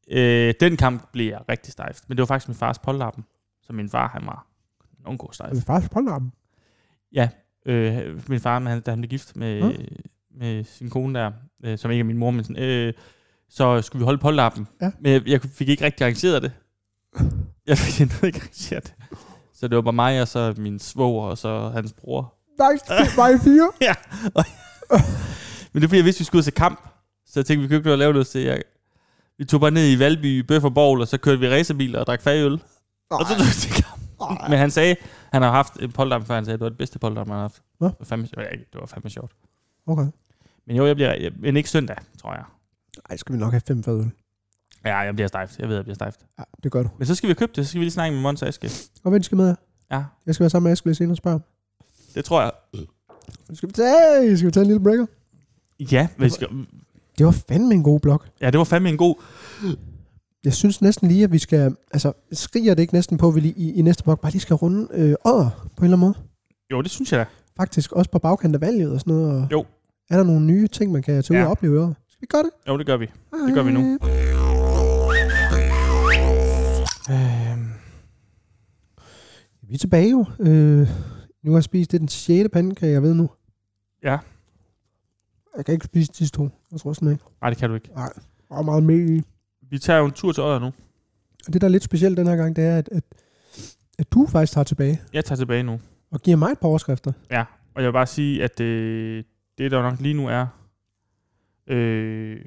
Speaker 2: den.
Speaker 1: Øh, den kamp blev jeg rigtig stejf. Men det var faktisk min fars polterappen, så min far, han var nogen god stejf.
Speaker 2: Det er faktisk polterarmen.
Speaker 1: øh, min far, men han, da han blev gift med,
Speaker 2: Nå.
Speaker 1: mm. med sin kone der, øh, som ikke er min mor, men sådan, øh, så skulle vi holde polterappen.
Speaker 2: Ja.
Speaker 1: Men jeg, jeg fik ikke rigtig arrangeret det. Jeg fik <laughs> endnu ikke arrangeret det. Så det var bare mig, og så min svoger, og så hans bror.
Speaker 2: Nej, mig fire.
Speaker 1: Men det var fordi, jeg vidste, vi skulle ud til kamp. Så jeg tænkte, vi kunne ikke nå at lave noget til. Jeg, vi tog bare ned i Valby, Bøf og Borgel, og så kørte vi racerbiler og drak fagøl. Og så tog vi til kamp.
Speaker 2: Ej.
Speaker 1: Men han sagde, han har haft en polterappen før, han sagde, det var det bedste polterappen, han har haft.
Speaker 2: Nå.
Speaker 1: Det var fandme, det var fandme sjovt.
Speaker 2: Okay.
Speaker 1: Men jo, jeg bliver, jeg, men ikke søndag, tror jeg.
Speaker 2: Ej, skal vi nok have fem fad øl.
Speaker 1: Ja, jeg bliver stejft. Jeg ved, jeg bliver stejft.
Speaker 2: Ja, det gør du.
Speaker 1: Men så skal vi købe det. Så skal vi lige snakke med Mons og Aske.
Speaker 2: Og hvem skal med jer?
Speaker 1: Ja,
Speaker 2: Jeg skal være sammen med Aske lidt senere og spørge.
Speaker 1: det tror jeg.
Speaker 2: Skal vi tage, skal vi tage en lille breaker?
Speaker 1: Ja, vi skal,
Speaker 2: Det var fandme en god blog.
Speaker 1: ja, det var fandme en god...
Speaker 2: Jeg synes næsten lige, at vi skal... Altså, skriger det ikke næsten på, at vi lige, i, i næste blog bare lige skal runde øh, ådder på en eller anden måde?
Speaker 1: Jo, det synes jeg da.
Speaker 2: Faktisk også på bagkant af valget og sådan noget. Og
Speaker 1: Jo.
Speaker 2: Er der nogle nye ting, man kan tage ud
Speaker 1: Ja.
Speaker 2: og opleve i ådder? Skal vi gøre det?
Speaker 1: Jo, det gør vi. Det gør vi nu. Øhm,
Speaker 2: Vi er tilbage jo. Øh, nu har jeg spist, det er den sjette pandekage, jeg ved nu.
Speaker 1: Ja.
Speaker 2: Jeg kan ikke spise de to. Jeg tror sådan ikke.
Speaker 1: nej, det kan du ikke.
Speaker 2: Nej. Og meget mel i.
Speaker 1: Vi tager jo en tur til Odder nu.
Speaker 2: Og det, der er lidt specielt den her gang, det er, at, at, at du faktisk tager tilbage
Speaker 1: Jeg tager tilbage nu.
Speaker 2: og giver mig et par overskrifter.
Speaker 1: Og jeg vil bare sige, at øh, det, der nok lige nu er... Øh,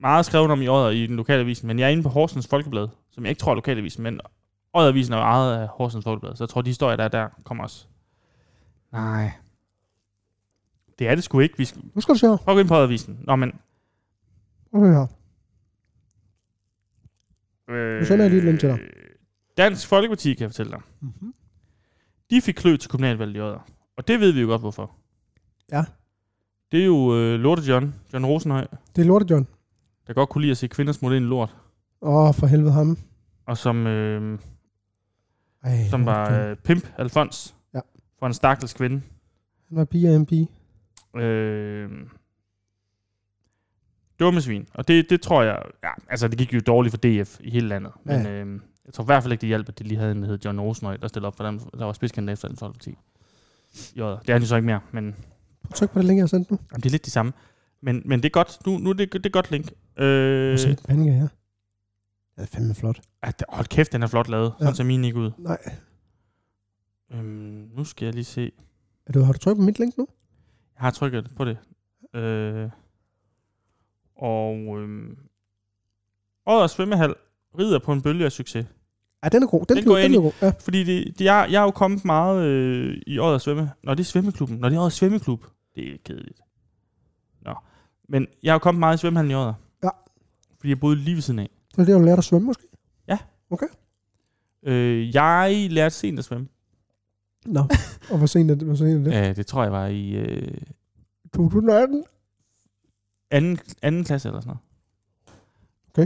Speaker 1: meget skrevet om i Odder i den lokale avisen, men jeg er inde på Horsens Folkeblad, som jeg ikke tror er lokalavisen, men Odderavisen er jo ejet af Horsens Folkeblad, så jeg tror, de historier, der er der, kommer også. Nej. Det er det sgu ikke. Vi skal...
Speaker 2: Nu skal du se her.
Speaker 1: Prøv at gå ind på Odderavisen. Nå, men...
Speaker 2: Prøv at høre her.
Speaker 1: Øh,
Speaker 2: Nu sender jeg lige et link til dig.
Speaker 1: Dansk Folkeparti, kan jeg fortælle dig.
Speaker 2: Mm-hmm.
Speaker 1: De fik klø til kommunalvalget i Odder. Og det ved vi jo godt, hvorfor.
Speaker 2: Ja.
Speaker 1: Det er jo øh, Lorte John, John Rosenhøj,
Speaker 2: Det er lortet, John.
Speaker 1: der godt kunne lide at se kvinder smutte ind i lort.
Speaker 2: Åh, for helvede ham.
Speaker 1: Og som, øh,
Speaker 2: Ej,
Speaker 1: som var
Speaker 2: Lorte John.
Speaker 1: øh, pimp, Alfons.
Speaker 2: Ja.
Speaker 1: For en stakkels kvinde.
Speaker 2: Han var pige af en pige.
Speaker 1: Øh, dumme svin. Og det, det tror jeg... Ja, altså, det gik jo dårligt for DF i hele landet. Men
Speaker 2: Ja.
Speaker 1: øh, jeg tror i hvert fald ikke, det hjalp, at de lige havde en, der hed John Rosenøj, der stillede op for dem, der var spidskandidat efter den folkeparti. Jo, det er han jo så ikke mere, men
Speaker 2: Prøv at tryk på det link, jeg har sendt nu.
Speaker 1: jamen, det er lidt de samme. Men, men det er godt. Nu, nu er det, det er godt link.
Speaker 2: Øh.
Speaker 1: Øh,
Speaker 2: Se den pandekage her. Ja, det er fandme flot.
Speaker 1: at, hold kæft, den er flot lavet.
Speaker 2: Ja.
Speaker 1: Sådan ser min ikke ud.
Speaker 2: Nej.
Speaker 1: Øhm, nu skal jeg lige se.
Speaker 2: Er du, har du trykket på mit link nu?
Speaker 1: Jeg har trykket på det. Øh, og øhm, årets svømmehal rider på en bølge af succes.
Speaker 2: Ja, den er god. Den,
Speaker 1: Den
Speaker 2: den, blev,
Speaker 1: går
Speaker 2: den
Speaker 1: ind
Speaker 2: blev god. Ja.
Speaker 1: Fordi det, det, jeg, jeg er jo kommet meget øh, i årets svømme. Når det er svømmeklubben. Når det er årets svømmeklub. Det er kedeligt. Nå. Men jeg er jo kommet meget i svømmehallen i året.
Speaker 2: Ja.
Speaker 1: Fordi jeg boede lige ved siden af.
Speaker 2: Det er det, du lærte at svømme måske?
Speaker 1: Øh, jeg lærte sent at svømme.
Speaker 2: Nå. <laughs> Og hvor sent er det? Hvor sent er det?
Speaker 1: Ja, det tror jeg var i øh,
Speaker 2: 2018?
Speaker 1: anden, anden klasse eller sådan noget.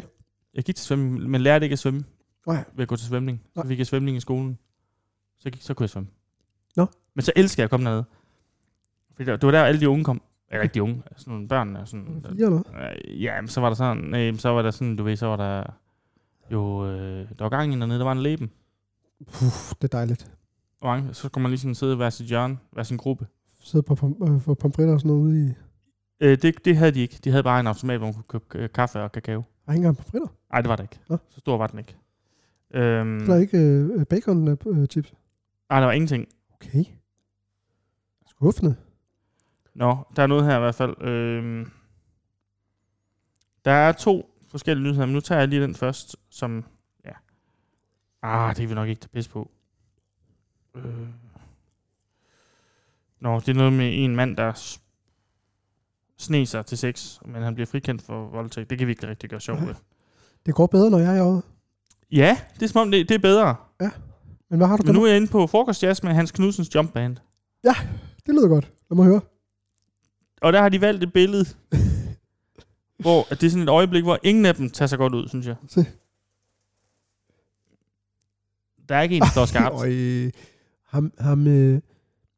Speaker 2: Okay.
Speaker 1: Jeg gik til svømning, men lærte ikke at svømme
Speaker 2: Nej.
Speaker 1: ved at gå til svømning. Så
Speaker 2: Nej.
Speaker 1: fik jeg svømning i skolen. Så, gik, så kunne jeg svømme.
Speaker 2: Nå.
Speaker 1: Men så elskede jeg at komme dernede. Fordi der- det var der, alle de unge kom. Eller ikke de unge, sådan nogle børn. og Sådan,
Speaker 2: Fire eller hvad?
Speaker 1: Øh, ja, men så var der sådan, nej, men så var der sådan, du ved, så var der jo, øh, der var gang i dernede, der var en leben.
Speaker 2: Puh, det er dejligt.
Speaker 1: Og mange, så kunne man lige sådan sidde i hver sit hjørne, hver sin gruppe.
Speaker 2: Sidde på pom- øh, for pomfritter og sådan noget ude i...
Speaker 1: Øh, det, det havde de ikke. De havde bare en automat, hvor man kunne købe øh, kaffe og kakao.
Speaker 2: Ej, ikke engang pomfritter.
Speaker 1: Nej, det var det ikke.
Speaker 2: Nå.
Speaker 1: Så stor var den ikke. Øhm,
Speaker 2: Mm. Der er ikke øh, øh, bacon øh, chips.
Speaker 1: nej, der var ingenting.
Speaker 2: Okay. Skuffende.
Speaker 1: Nå, der er noget her i hvert fald. Øhm, der er to forskellige nyheder, men nu tager jeg lige den først, som... Ja. Ah, det er vi nok ikke tage pis på. Øh. Nå, det er noget med en mand, der s- sneg sig til sex, men han bliver frikendt for voldtægt. Det kan vi ikke rigtig gøre sjovt ved.
Speaker 2: Det går bedre, når jeg er herovre.
Speaker 1: Ja, det er som om det, det er bedre.
Speaker 2: Men hvad har du
Speaker 1: Men
Speaker 2: nu...
Speaker 1: nu er jeg inde på frokostjazz med Hans Knudsens jumpband.
Speaker 2: Det lyder godt. Lad mig høre.
Speaker 1: Og der har de valgt et billede, hvor at det er sådan et øjeblik, hvor ingen af dem tager sig godt ud, synes jeg.
Speaker 2: Se.
Speaker 1: Der er ikke en, der står
Speaker 2: <laughs>
Speaker 1: skarpt.
Speaker 2: Og øh, ham, ham, øh,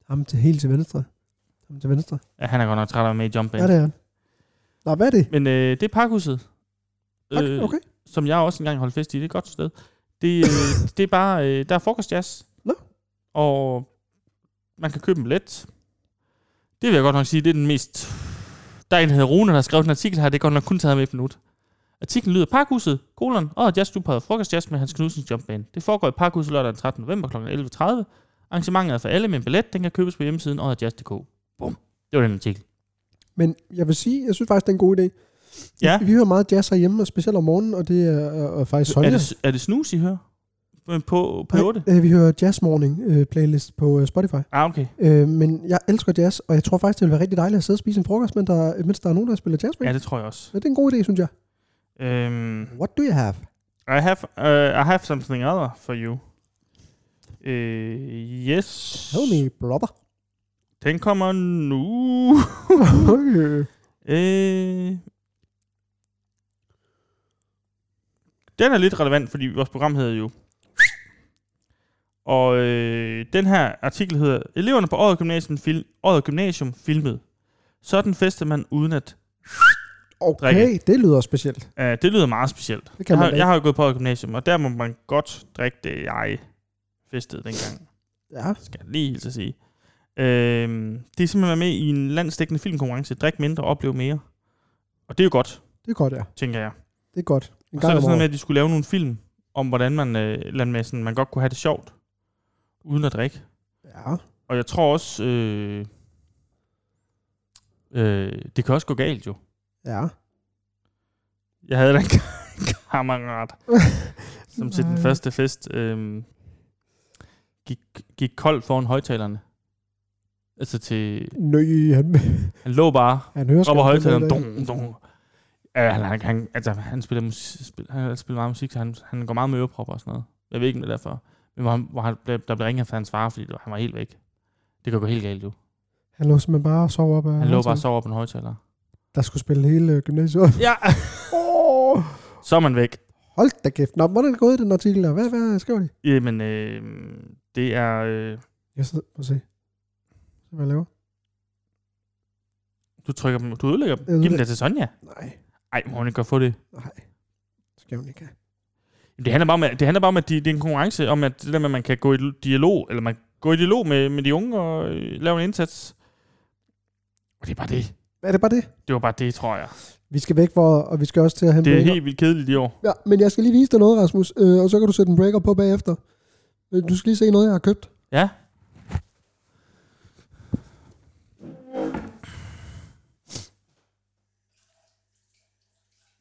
Speaker 2: ham til helt til venstre. Ham til venstre.
Speaker 1: Ja, han er godt nok træt af at være med i jumpband.
Speaker 2: Ja, det er han. Nå, hvad er det?
Speaker 1: Men øh, det er pakhuset, Øh.
Speaker 2: Okay, okay.
Speaker 1: som jeg også engang holdt fest i. Det er et godt sted. Det, øh, det er bare, øh, der er frokostjazz.
Speaker 2: Nå.
Speaker 1: Og man kan købe en billet. Det vil jeg godt nok sige, det er den mest... Der er en, der hedder Rune, der har skrevet en artikel her. Det er godt nok kun taget med et minut. Artiklen lyder Parkhuset, kolon og jazzduparet frokostjazz med Hans Knudsens Jumpband. Det foregår i Parkhuset lørdag den 13. november kl. 11.30. Arrangementet er for alle med en billet. Den kan købes på hjemmesiden og jazz.dk. Bum. Det var den artikel.
Speaker 2: Men jeg vil sige, jeg synes faktisk, det er en god idé.
Speaker 1: Ja.
Speaker 2: Vi, vi hører meget jazz herhjemme, og specielt om morgenen, og det er øh, og, og faktisk Sonja.
Speaker 1: Er det, er det snus, I hører? Men På, på
Speaker 2: Nej,
Speaker 1: 8?
Speaker 2: øh, vi hører Jazz Morning øh, playlist på øh, Spotify.
Speaker 1: Ah, okay.
Speaker 2: Øh, men jeg elsker jazz, og jeg tror faktisk, det ville være rigtig dejligt at sidde og spise en frokost, men der, mens der er nogen, der spiller jazz.
Speaker 1: Ja,
Speaker 2: Ja.
Speaker 1: det tror jeg også.
Speaker 2: Så det er en god idé, synes jeg.
Speaker 1: Um,
Speaker 2: What do you have?
Speaker 1: I have uh, I have something other for you. Uh, yes.
Speaker 2: Tell me, brother.
Speaker 1: Den kommer nu. uh, den er lidt relevant, fordi vores program hedder jo... Og øh, den her artikel hedder Eleverne på Året Gymnasium, fil- Året Gymnasium filmede. Sådan fester man uden at...
Speaker 2: <laughs> okay,
Speaker 1: Drikke.
Speaker 2: det lyder specielt.
Speaker 1: Uh, det lyder meget specielt.
Speaker 2: Det kan
Speaker 1: Jeg
Speaker 2: man
Speaker 1: har,
Speaker 2: da
Speaker 1: jeg
Speaker 2: ikke.
Speaker 1: har jo gået på Året gymnasium, og der må man godt drikke det, jeg festede dengang.
Speaker 2: Ja,
Speaker 1: Skal jeg lige hilse at sige. Øhm, det er simpelthen at være med i en landstækkende filmkonkurrence. Drik mindre, oplev mere. Og det er jo godt,
Speaker 2: det er godt, ja.
Speaker 1: tænker jeg.
Speaker 2: Det er godt. En
Speaker 1: Og så er
Speaker 2: gang
Speaker 1: der
Speaker 2: om
Speaker 1: sådan noget med,
Speaker 2: året.
Speaker 1: at de skulle lave nogle film, om hvordan man, øh, et eller andet med, sådan, man godt kunne have det sjovt, uden at drikke.
Speaker 2: Ja.
Speaker 1: Og jeg tror også, øh, øh, det kan også gå galt jo.
Speaker 2: Ja.
Speaker 1: Jeg havde da en <laughs> kammerat, som til den
Speaker 2: Nej.
Speaker 1: første fest øh, gik, gik kold foran højtalerne. Altså til...
Speaker 2: Nø, han,
Speaker 1: Han lå bare
Speaker 2: han hører
Speaker 1: op ad
Speaker 2: sgu-
Speaker 1: højtalerne. Dum, dum. Ja, han, han, han, altså, han spiller, musik, spil, han spiller meget musik, så han, han går meget med ørepropper og sådan noget. Jeg ved ikke, om det er derfor. Men hvor, han, hvor han, blev- der blev ringet fra hans far, fordi det var- han var helt væk. Det kan gå helt galt, jo.
Speaker 2: Han lå simpelthen bare og sov op af
Speaker 1: Han lå bare og
Speaker 2: højtalerne.
Speaker 1: sov op på en højtaler.
Speaker 2: Der skulle spille hele øh, gymnasiet. op.
Speaker 1: Ja!
Speaker 2: <laughs> Åh,
Speaker 1: Så er man væk.
Speaker 2: Hold da kæft. Nå, hvordan er det gået i den artikel der? Hvad, hvad skriver de?
Speaker 1: Jamen, øh, det er... Øh,
Speaker 2: Jeg sidder og se. Hvad jeg laver?
Speaker 1: du trykker dem, du ødelægger dem.
Speaker 2: Jeg
Speaker 1: Giv dem
Speaker 2: ødelægger-
Speaker 1: der til Sonja.
Speaker 2: Nej,
Speaker 1: Ej, må hun ikke godt få det.
Speaker 2: nej. Det skal hun ikke have.
Speaker 1: Det handler bare om, at, det handler bare om, at de, det er en konkurrence, om at det der med, at man kan gå i dialog, eller man går i dialog med, med de unge og øh, lave en indsats. Og det er bare det.
Speaker 2: Er det bare det?
Speaker 1: Det var bare det, tror jeg.
Speaker 2: Vi skal væk for, og vi skal også til at hente
Speaker 1: Det er
Speaker 2: breaker.
Speaker 1: helt vildt kedeligt i år.
Speaker 2: Ja, men jeg skal lige vise dig noget, Rasmus, øh, og så kan du sætte en breaker på bagefter. Øh, Du skal lige se noget, jeg har købt.
Speaker 1: Ja.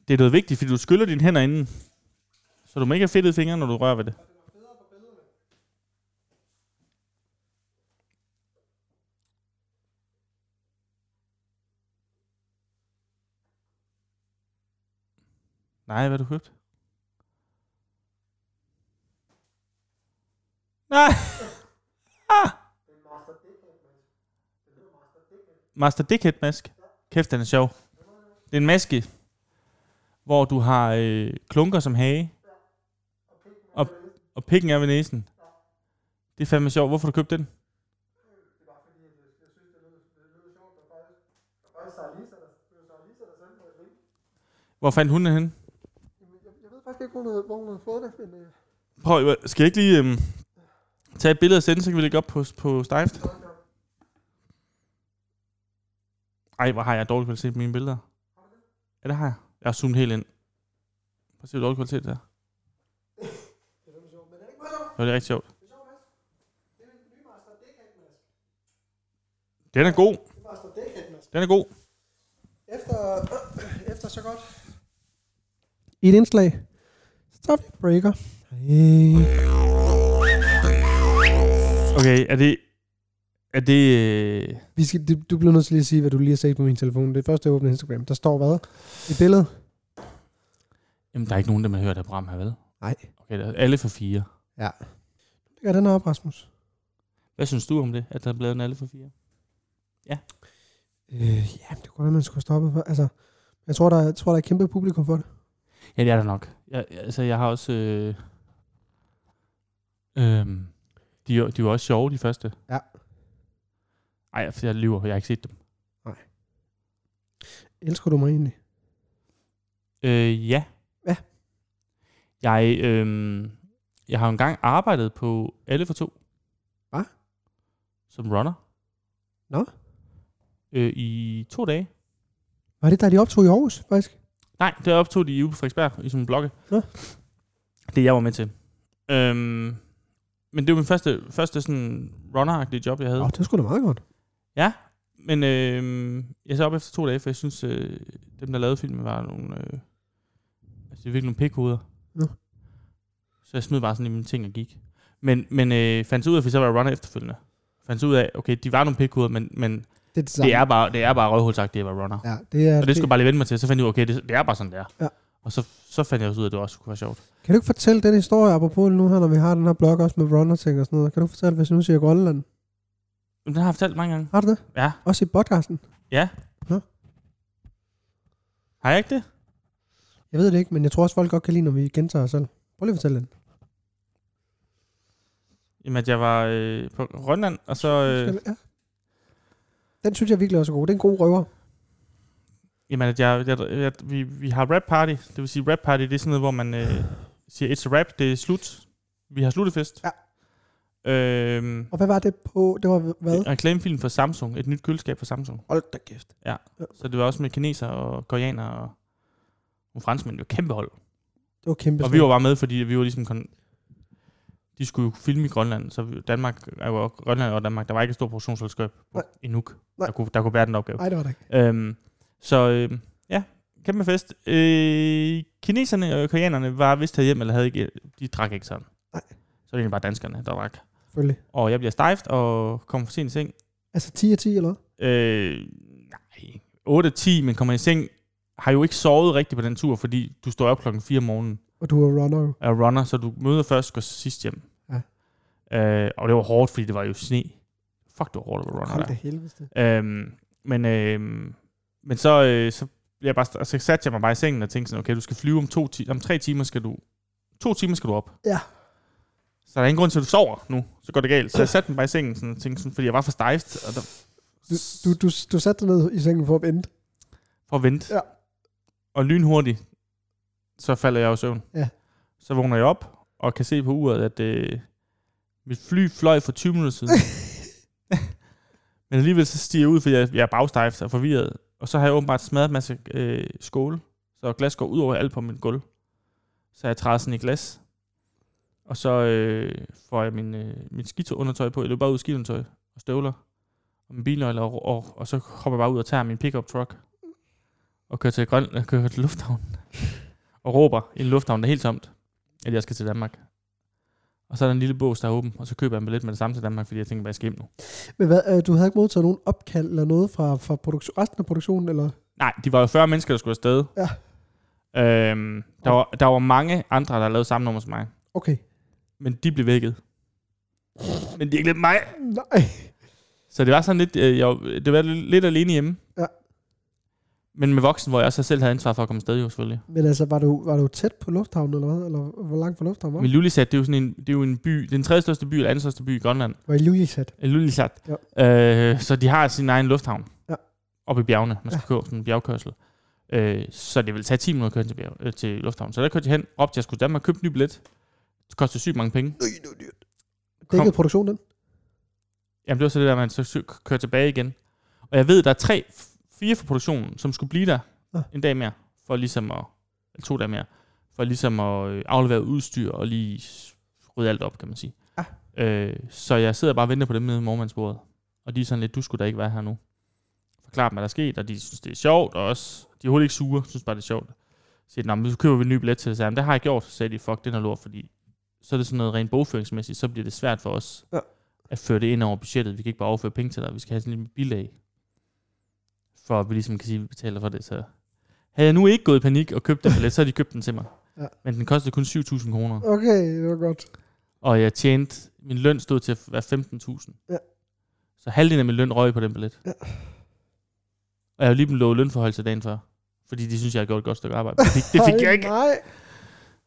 Speaker 1: det er noget vigtigt, fordi du skyller dine hænder inden. Så du må ikke have fedtede fingre, når du rører ved det. Nej, hvad har du købt? Nej! <laughs> Ah! Master Dickhead maske. Kæft, den er sjov. Det er en maske, hvor du har øh, klunker som hage. Og, og pikken er ved næsen. Det er fandme sjovt. Hvorfor har du købt den? Hvor fandt hun den henne?
Speaker 2: Jeg ved faktisk ikke, hvor hun havde, hvor hun havde fået det, men... Øh,
Speaker 1: Prøv, øh, skal jeg ikke lige øhm, tage et billede og sende, så kan vi lægge op på, på Stift? Ej, hvor har jeg dårlig kvalitet på mine billeder. Ja, det har jeg. Jeg har zoomet helt ind. Prøv at se, hvor dårlig kvalitet det er. Jo, det er rigtig sjovt. Den er god.
Speaker 2: Master Dickhead, Mads.
Speaker 1: Den er god.
Speaker 2: Efter, øh, efter så godt. Et indslag. Så tager vi en breaker. Hey.
Speaker 1: Okay, er det... Er det... øh,
Speaker 2: Vi skal, du, du bliver nødt til lige at sige, hvad du lige har set på min telefon. Det første, jeg åbner Instagram. Der står hvad? Et billede?
Speaker 1: Jamen, der er ikke nogen, der man hører, der program her, vel?
Speaker 2: Nej.
Speaker 1: Okay, der er alle for fire.
Speaker 2: Det gør den her op, Rasmus.
Speaker 1: Hvad synes du om det, at der er blevet en alle for fire?
Speaker 2: Øh, ja, det kunne godt, være, man skulle stoppe for. Altså, jeg tror, der, jeg tror, der er et kæmpe publikum for det.
Speaker 1: Ja, det er der nok. Jeg, jeg- altså, jeg har også... Øh, øhm, de, er- de var også sjove, de første.
Speaker 2: Ja.
Speaker 1: Ej, for jeg lyver. Jeg har ikke set dem.
Speaker 2: Elsker du mig egentlig?
Speaker 1: Øh, ja.
Speaker 2: Ja.
Speaker 1: Jeg, øh, jeg har jo engang arbejdet på alle for to.
Speaker 2: Hva?
Speaker 1: Som runner.
Speaker 2: Nå.
Speaker 1: Øh, I to dage.
Speaker 2: Var det der, de optog i Aarhus, faktisk?
Speaker 1: Nej, det optog de ude på Frederiksberg i sådan en blokke.
Speaker 2: Nå.
Speaker 1: Det jeg var med til. Øhm, men det var min første, første sådan runner job, jeg havde.
Speaker 2: Åh, oh, det var sgu da meget godt.
Speaker 1: Men øh, jeg så op efter to dage, for jeg synes, øh, dem, der lavede filmen, var nogle... Øh, altså, det er virkelig nogle pikhoveder.
Speaker 2: Nå.
Speaker 1: Så jeg smed bare sådan i mine ting og gik. Men, men øh, fandt så ud af, for så var jeg runner efterfølgende. Fandt så ud af, okay, de var nogle pikhoveder, men, men
Speaker 2: Det er det samme.
Speaker 1: det er bare, det er bare røvhulsagt, det at være runner.
Speaker 2: Ja, det er,
Speaker 1: Og det skulle jeg bare lige vende mig til. Så fandt jeg ud af, okay, det, det er bare sådan, det er.
Speaker 2: Ja.
Speaker 1: Og så, så fandt jeg også ud af, at det også kunne være sjovt.
Speaker 2: Kan du ikke fortælle den historie, apropos nu her, når vi har den her blog også med runner ting og sådan noget? Kan du fortælle, hvis jeg nu siger Grønland?
Speaker 1: Men den har jeg fortalt mange gange.
Speaker 2: Har du det?
Speaker 1: Ja.
Speaker 2: Også i podcasten?
Speaker 1: Har jeg ikke det?
Speaker 2: Jeg ved det ikke, men jeg tror også, folk godt kan lide, når vi gentager os selv. Prøv lige at fortælle den.
Speaker 1: Jamen, at jeg var øh, på Grønland, og så... Øh,
Speaker 2: Ja. Den synes jeg virkelig også er god. Det er en god røver.
Speaker 1: jamen, at jeg, jeg, jeg, vi, vi har rap party. Det vil sige, rap party, det er sådan noget, hvor man øh, siger, it's a rap, det er slut. Vi har sluttefest.
Speaker 2: Ja.
Speaker 1: Øhm,
Speaker 2: Og hvad var det på? Det var hvad?
Speaker 1: en reklamefilm for Samsung. Et nyt køleskab for Samsung.
Speaker 2: Hold da kæft.
Speaker 1: Så det var også med kineser og koreanere og nogle franskmænd. Det var et kæmpe hold.
Speaker 2: Det var kæmpe.
Speaker 1: Og vi var bare med, fordi vi var ligesom... Kon- de skulle jo filme i Grønland, så vi- Danmark, er jo- Grønland og Danmark, der var ikke et stort produktionsselskab
Speaker 2: Nej.
Speaker 1: i Nuuk,
Speaker 2: Nej.
Speaker 1: der kunne, der kunne bære den opgave.
Speaker 2: Nej, det var det ikke.
Speaker 1: Øhm, så øhm, ja, kæmpe fest. Øh, kineserne og koreanerne var vist hjem eller havde ikke, de drak ikke sådan.
Speaker 2: Nej.
Speaker 1: Så var det egentlig bare danskerne, der drak.
Speaker 2: Selvfølgelig.
Speaker 1: Og jeg bliver stejft og kommer for sent i seng.
Speaker 2: Altså 10 af 10, eller hvad?
Speaker 1: Øh, nej, 8-10, men kommer i seng. Har jo ikke sovet rigtigt på den tur, fordi du står op klokken 4 om morgenen
Speaker 2: Og du var runner jo.
Speaker 1: er runner, så du møder først, går sidst hjem.
Speaker 2: Ja.
Speaker 1: Øh, og det var hårdt, fordi det var jo sne. Fuck, det var hårdt at være runner
Speaker 2: Hold da
Speaker 1: der.
Speaker 2: helveste.
Speaker 1: Øhm, men, øhm, men så, øh, så, blev jeg bare, st- så satte jeg mig bare i sengen og tænkte sådan, okay, du skal flyve om, to ti- om tre timer, skal du, to timer skal du op.
Speaker 2: Ja.
Speaker 1: Så der er ingen grund til, at du sover nu, så går det galt. Så jeg satte mig bare i sengen sådan, og tænkte sådan, fordi jeg var for stejft, og der,
Speaker 2: Du, du, du, du satte dig ned i sengen for at
Speaker 1: <laughs>
Speaker 2: vente.
Speaker 1: for at vente.
Speaker 2: Ja.
Speaker 1: Og lynhurtigt, så falder jeg i søvn.
Speaker 2: Ja.
Speaker 1: Så vågner jeg op, og kan se på uret, at øh, mit fly fløj for 20 minutter siden. Men alligevel så stiger jeg ud, fordi jeg, jeg er bagstejft og forvirret. Og så har jeg åbenbart smadret en masse øh, skåle, så glas går ud over alt på min gulv. Så jeg træder sådan i glas. Og så øh, får jeg min, øh, min skiundertøj på. Jeg løber bare ud i skiundertøj og støvler. Og min bilnøgler, og, og, og så hopper jeg bare ud og tager min pickup truck. Og og kører til, Grøn, og kører til lufthavnen. og råber i en lufthavn, der er helt tomt, at jeg skal til Danmark. Og så er der en lille bås, der er åben, og så køber jeg en billet med det samme til Danmark, fordi jeg tænker, bare, jeg skal hjem nu.
Speaker 2: Men hvad, øh, du havde ikke modtaget nogen opkald eller noget fra, fra produktion, resten af produktionen? Eller?
Speaker 1: Nej, de var jo 40 mennesker, der skulle afsted.
Speaker 2: Ja.
Speaker 1: Øhm, der, var, der var mange andre, der lavede samme nummer som mig.
Speaker 2: Okay.
Speaker 1: Men de blev vækket. Men de glemte mig.
Speaker 2: Nej.
Speaker 1: Så det var sådan lidt, øh, jeg, var- det var lidt alene hjemme.
Speaker 2: Ja.
Speaker 1: Men med voksen, hvor jeg så selv havde ansvar for at komme afsted jo selvfølgelig.
Speaker 2: Men altså, var du, var du tæt på lufthavnen, eller hvad? Eller hvor langt fra lufthavnen var
Speaker 1: Men
Speaker 2: du?
Speaker 1: Lulisat, det er jo sådan en, det er jo en by, den tredje største by, eller anden største by i Grønland.
Speaker 2: Var i Lulisat.
Speaker 1: Øh, Lulisat. Ja. Øh, så de har sin egen lufthavn.
Speaker 2: Ja.
Speaker 1: Oppe i bjergene. Man skal ja. køre sådan en bjergkørsel. Øh, så det ville tage 10 minutter at køre til, bjerg, øh, til lufthavnen. Så der kørte jeg hen, op til jeg skulle til Danmark, købte en ny billet. Det kostede sygt mange penge.
Speaker 2: Øj, det var dyrt. Dækkede produktionen den?
Speaker 1: Jamen det var så det der, man så sy- kører tilbage igen. Og jeg ved, der er tre, fire fra produktionen, som skulle blive der
Speaker 2: Ja.
Speaker 1: ja. en dag mere, for ligesom at, eller to dage mere, for ligesom at øh, aflevere udstyr og lige s- rydde alt op, kan man sige. Ja. Øh, så jeg sidder bare og venter på dem nede i mormandsbordet. Og de er sådan lidt, du skulle da ikke være her nu. Forklar dem, hvad der er sket, og de synes, det er sjovt, og også, de er overhovedet ikke sure, synes bare, det er sjovt. Så siger de, "Nå, men så køber vi en ny billet til det. Så jeg, "Jamen, det har jeg gjort, så sagde de, fuck, den er lort, fordi så er det sådan noget rent bogføringsmæssigt, så bliver det svært for os at føre det ind over budgettet. Vi kan ikke bare overføre penge til dig, vi skal have sådan en lille bilag, for at vi ligesom kan sige, at vi betaler for det. Så havde jeg nu ikke gået i panik og købt den billet, så havde de købt den til mig.
Speaker 2: Ja.
Speaker 1: Ja. Men den kostede kun 7.000 kroner,
Speaker 2: Okay, det var godt.
Speaker 1: og jeg tjente, min løn stod til at være 15.000.
Speaker 2: Ja.
Speaker 1: Ja. Så halvdelen af min løn røg på den billet.
Speaker 2: Ja.
Speaker 1: Ja. Og jeg har jo lige blevet lovet lønforhold til dagen før, fordi de synes, jeg har gjort et godt stykke arbejde. Men Det fik, det fik
Speaker 2: Ej,
Speaker 1: jeg ikke.
Speaker 2: Nej.